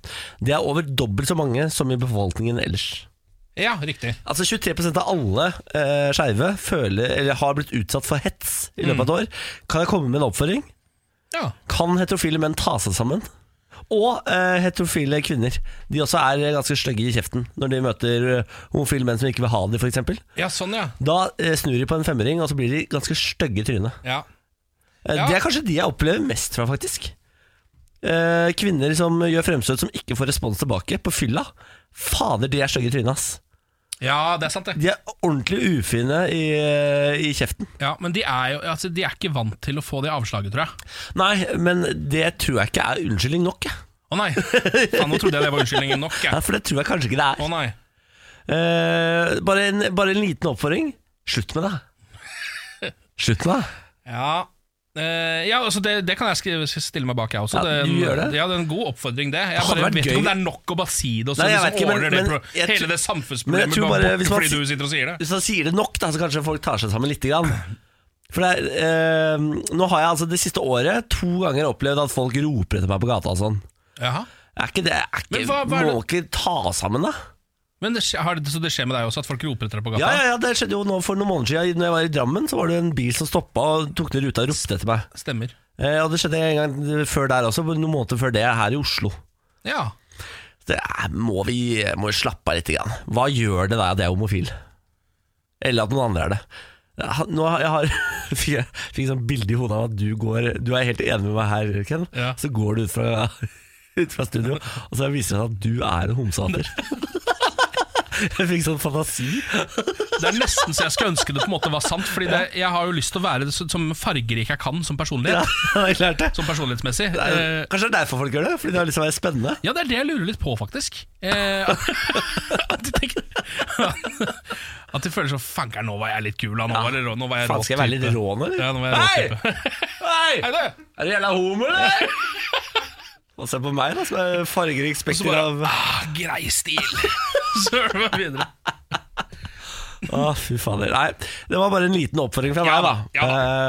Det er over dobbelt så mange som i befolkningen ellers.
Ja, riktig.
Altså 23 av alle eh, skeive føler- eller har blitt utsatt for hets i løpet av et år. Kan jeg komme med en oppfordring?
Mm. Ja.
Kan heterofile menn ta seg sammen? Og eh, heterofile kvinner. De også er ganske stygge i kjeften når de møter eh, homofile menn som ikke vil ha dem, f.eks.
ja, sånn, ja.
Da eh, snur de på en femmering, og så blir de ganske stygge i trynet.
ja.
Eh,
Ja.
Det er kanskje de jeg opplever mest fra, faktisk. Eh, kvinner som gjør fremstøt som ikke får respons tilbake, på fylla. Fader, de er stygge i trynet, ass.
Ja, det er sant, det.
De er ordentlig ufine i, eh, i kjeften.
Ja, men de er jo altså, De er ikke vant til å få det avslaget, tror jeg.
Nei, men det tror jeg ikke er unnskyldning nok. Jeg.
Å nei! Faen, nå trodde jeg det var unnskyldningen nok.
Nei,
Jeg.
for det tror jeg kanskje ikke det er.
Å nei.
Eh, bare, en, bare en liten oppfordring. Slutt med det. Slutt med det.
Ja, Eh, ja altså det, det kan jeg skrive, stille meg bak, jeg også.
Ja,
det, er
du
en-
gjør det?
Ja, det er en god oppfordring, det. Jeg
Hadde
bare
vært
vet
gøy.
ikke om det er nok å bare si det, og så
Nei, jeg
liksom
vet ikke, men-
ordner
men
det pro-
jeg
hele
tror-
det
men jeg
samfunnsproblemet
tror
bare
bare
bort
hvis man
fordi
si-
du sitter og sier det.
Hvis han sier det nok, da, så kanskje folk tar seg sammen lite grann. For det er, eh, nå har jeg altså det siste året to ganger opplevd at folk roper etter meg på gata og sånn.
Jaha.
Er ikke det, er ikke,
Men hva- hva er
Må ikke ta sammen, da?
Men det, skje- har, det- så det skjer med deg også, at folk roper etter deg på gata?
Ja, ja, ja, det skjedde jo nå for noen måneder siden. Når jeg var i Drammen, så var det en bil som stoppa og tok ned ruta og ropte etter meg.
Stemmer.
Eh, og det skjedde en gang før der også, noen måneder før det, her i Oslo.
Ja.
Det er, må vi må jo slappe av litt. Grann. Hva gjør det deg at jeg er homofil? Eller at noen andre er det? Jeg har- Nå har, jeg har, fikk jeg fikk sånn bilde i hodet av at du går Du er helt enig med meg her, Ken.
Ja.
Så går du ut fra, ut fra studio, og så viser det seg at du er en homsehater. Jeg fikk sånn fantasi.
Det er nesten så jeg skulle ønske det på en måte var sant, Fordi det, jeg har jo lyst til å være så, som fargerik jeg kan som
Ja,
personlighet.
jeg lærte det.
Som personlighetsmessig.
Det er
Eh,
jo- Kanskje det er derfor folk gjør det? Fordi det har lyst til å være spennende?
Ja, det er det jeg lurer litt på, faktisk. Eh, at de tenker At de føler sånn Fanker'n, nå var jeg litt kul, da. Nå, var det rå- nå var jeg rå
Faen, skal jeg være
type».
litt rå nå, eller?
Ja, nå var jeg rå
Hei!
type. Hei,
Hei!
du!
Er du jævla homo, eller? Og se på meg, da, som er fargerik
Så
spekter
bare
av
ah, Grei stil! Så er det bare videre.
Å, fy fader. Nei, det var bare en liten oppfordring fra
Ja
meg, da.
da, ja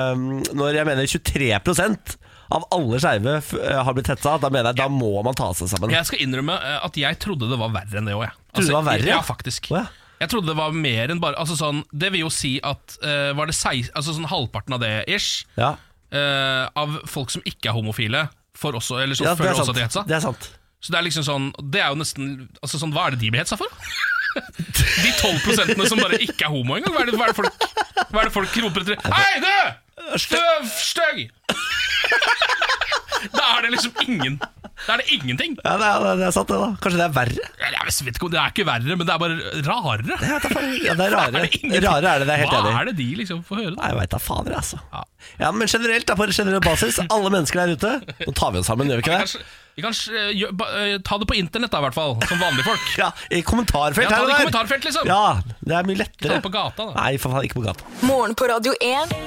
Ehm, når jeg mener 23 av alle skeive f- eh, har blitt hetsa, da mener jeg da må man ta seg sammen.
Jeg skal innrømme eh, at jeg trodde det var verre enn det òg, jeg. Altså,
Trodde det var verre, ja?
Ja, faktisk.
Å, ja.
Jeg trodde det var mer enn bare Altså sånn, Det vil jo si at eh, Var det sei, altså sånn halvparten av det ish
Ja,
eh, av folk som ikke er homofile, får også, eller som
ja det
føler
er
også at
sant.
de er hetsa?
Det er sant.
Så det er liksom sånn Det er jo nesten Altså sånn, Hva er det de blir hetsa for? De 12 som bare ikke er homo engang? Hva er det, hva er det folk Hva er det folk roper etter? Hei, du! Støv, støgg! Da er det liksom ingen Da er det ingenting.
Ja, det er, det er sant, det, da. Kanskje det er verre?
Eller Jeg vet ikke, om- Det er ikke verre, men det er bare rarere.
Jeg vet da faen. Ja, det er rarere.
Er det ingenting?
rarere er det, det er jeg helt
Hva
enig i.
er det de liksom får høre? da?
Nei, Jeg veit da fader, altså.
Ja.
Ja, Men generelt, da, på generell basis, alle mennesker der ute Nå tar vi oss sammen, gjør vi
Vi
ikke
kan,
det?
vi kan eh, gjø- ba- eh, ta det på internett, da, i hvert fall. Som vanlige folk.
Ja, I kommentarfelt
Ja, ta
her
det
og
i
der.
kommentarfelt, liksom.
Ja, det er mye
Ta
lettere.
det på gata, da.
Nei, for faen, ikke på gata.
Morgen på Radio 1.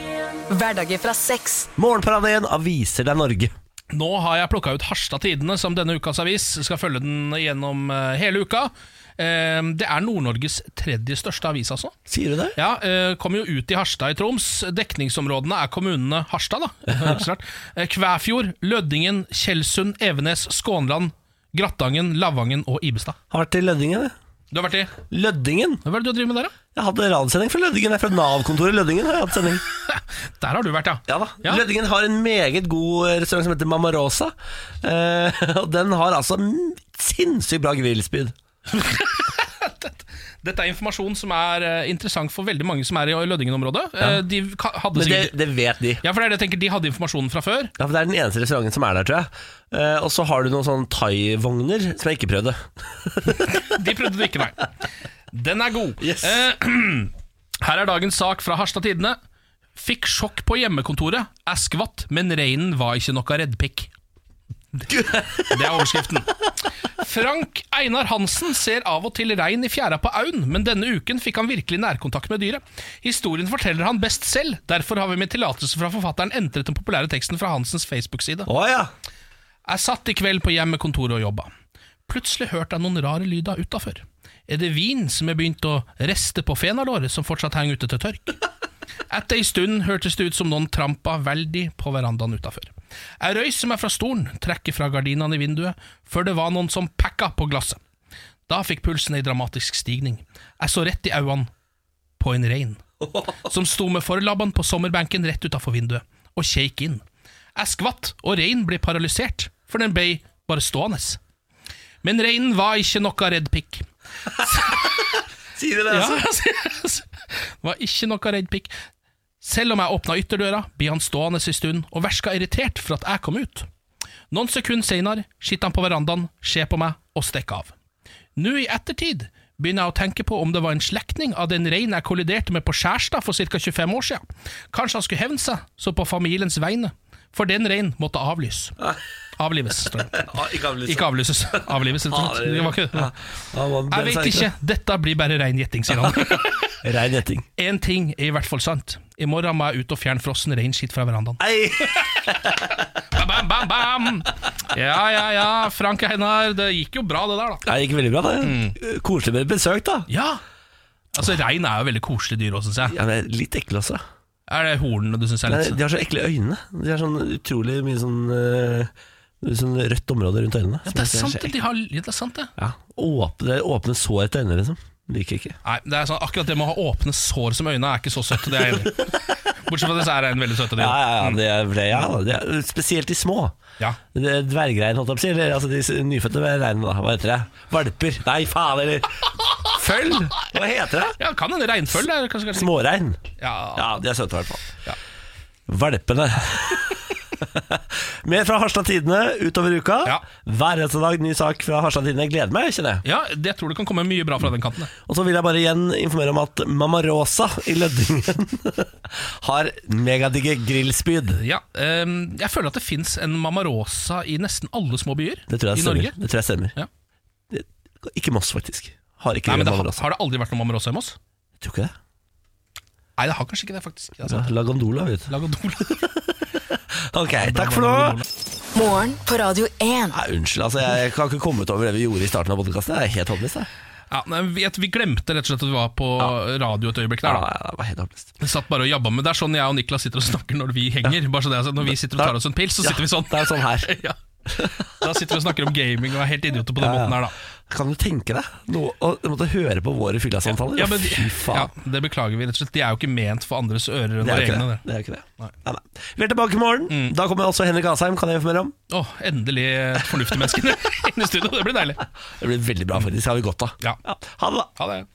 Hverdager fra seks.
Morgenparadien aviser deg Norge.
Nå har jeg plukka ut Harstad Tidende som denne ukas avis. Skal følge den gjennom eh, hele uka. Eh, Det er Nord-Norges tredje største avis, altså.
Sier du det?
Ja, eh, Kommer jo ut i Harstad i Troms. Dekningsområdene er kommunene Harstad, da. Ikke så rart. Eh, Kvæfjord, Lødingen, Tjeldsund, Evenes, Skånland, Grattangen, Lavangen og Ibestad.
Har vært i Lødingen, det.
Du har vært i
Lødingen.
Hva er det du driver med der, da?
Jeg hadde radiosending fra Lødingen. Det er fra Nav-kontoret i Lødingen. har jeg hatt sending
Der har du vært, ja.
Ja da Lødingen har en meget god restaurant som heter Mamma Rosa. Eh, og den har altså m- sinnssykt bra grillspyd.
Dette er informasjon som er eh, interessant for veldig mange som er i Lødingen-området. Eh, De ka-
Men
hadde
det,
sikkert
det vet de.
Ja, for det er det jeg tenker, de hadde informasjonen fra før.
Ja, for Det er den eneste restauranten som er der, tror jeg. Eh, og så har du noen sånne thaivogner som jeg ikke prøvde.
De prøvde det ikke, nei. Den er god.
Yes.
Eh, her er dagens sak fra Harstad Tidende. Fikk sjokk på hjemmekontoret. Er skvatt, men reinen var ikke noe reddpikk. Det er overskriften. Frank Einar Hansen ser av og til rein i fjæra på Aun, men denne uken fikk han virkelig nærkontakt med dyret. Historien forteller han best selv, derfor har vi med tillatelse fra forfatteren entret den populære teksten fra Hansens Facebook-side.
Å ja!
Jeg satt i kveld på hjemmekontoret og jobba. Plutselig hørte jeg noen rare lyder utafor. Er det vin som er begynt å riste på fenalåret, som fortsatt henger ute til tørk? Etter ei stund hørtes det ut som noen trampa veldig på verandaen utafor. Jeg røyser meg fra stolen, trekker fra gardinene i vinduet, før det var noen som pekka på glasset. Da fikk pulsen ei dramatisk stigning. Jeg så rett i øynene på en rein, som sto med forlabbene på sommerbenken rett utafor vinduet, og kjeik inn. Jeg skvatt, og reinen ble paralysert, for den ble bare stående. Men reinen var ikke noe redd pikk.
Sier de det,
Ja,
altså?
altså, var ikke noe redd pikk. Selv om jeg åpna ytterdøra, ble han stående en stund og verska irritert for at jeg kom ut. Noen sekunder seinere sitter han på verandaen, ser på meg og stikker av. Nå i ettertid Begynner jeg å tenke på om det var en slektning av den reinen jeg kolliderte med på Skjærstad for ca. 25 år siden. Kanskje han skulle hevne seg, så på familiens vegne. For den reinen måtte avlyse. Avlives, står det.
Ah, ikke Ah, avlyst.
Ikke avlyses. Avlives, rett og slett. Det var ikke... Jeg vet ikke. Dette blir bare rein gjetting, sier han.
Rein gjetting.
Én ting er i hvert fall sant. I morgen må jeg ut og fjerne frossen reinskitt fra verandaen.
Nei,
Bam, bam, bam, bam! Ja, ja, ja. Frank og Einar, det gikk jo bra, det der, da.
det gikk veldig bra. det
Mm.
Koselig med besøk, da.
Ja! Altså, Rein er jo veldig koselig dyr òg, syns jeg.
Ja, men Litt ekle også.
Er det hornene du syns er
Nei,
litt
de har så ekle øyne. De har sånn utrolig mye sånn, eh, sånn rødt område rundt øynene.
Ja, det er sant, det. De har, ja, det er sant, det.
Ja, åpne, det er åpne sår etter øynene, liksom. Liker ikke.
Nei, det er sånn, akkurat det med å ha åpne sår som øyne er ikke så søtt. Det er jeg enig i. Bortsett fra det, så er rein veldig søte dyr.
Ja, ja, ja, det er, det, ja det er, Spesielt de små.
Ja.
Det er Dvergrein, holdt jeg på å si. Eller altså, de s- nyfødte reinene, da. Hva heter det? Valper. Nei, faen, eller Føll! Hva heter det?
Ja, kan en reinføll er kanskje, kanskje.
Smårein.
Ja.
Ja, de er søte i hvert fall.
Ja.
Valpene. Mer fra Harstad Tidende utover uka.
Ja.
Hver eneste dag ny sak fra Harstad Tidende. Jeg Gleder meg, kjenner jeg.
ja, det tror det kan komme mye bra fra den kanten. det.
Og så vil jeg bare igjen informere om at Mamma Rosa i Lødingen har megadigge grillspyd.
Ja, ehm, jeg føler at det fins en Mamarosa i nesten alle små byer
Det tror jeg
i
stemmer.
Norge.
Det tror jeg stemmer.
Ja.
Det- Ikke Moss, faktisk. Har ikke
Nei, men det,
Mamma
har,
Rosa.
har det aldri vært noen Mamarosa i Moss?
Tror ikke det.
Nei, det har kanskje ikke det, faktisk. Det
Ja,
er sant.
La gondola ut.
Lagodol.
Altså, Ok, takk for nå.
Morgen på Radio 1.
Nei, unnskyld, altså, jeg kan ikke komme ut over det vi gjorde i starten av podkasten. Det er helt håpløst. det.
Ja, nei, vi, at vi glemte rett og slett at vi var på radio et øyeblikk
Ja,
der. da
ja, det var helt håpløst.
Vi satt bare og jabba med Det er sånn jeg og Niklas sitter og snakker når vi henger. Bare så det er sagt, Når vi sitter og tar oss en pils, så
Ja,
sitter vi sånn.
Det er sånn her.
Ja. Da sitter vi og snakker om gaming og er helt idioter på den
Ja, ja.
måten her, da.
Kan du tenke deg noe, å måtte høre på våre fyllasamtaler?
Ja, men,
Fy
ja,
faen.
det beklager vi, rett og slett. De er jo ikke ment for andres ører enn
Det er
våre
jo ikke det.
egne. det. Mm.
det, er jo ikke det. Nei, nei. Vi er tilbake i morgen. Da kommer også Henrik Asheim, kan jeg informere om.
Å, endelig et fornuftig menneske inne i studio. Det blir deilig.
Det blir veldig bra, faktisk. Det har vi godt av.
Ja.
Ha det, da.
Ha det.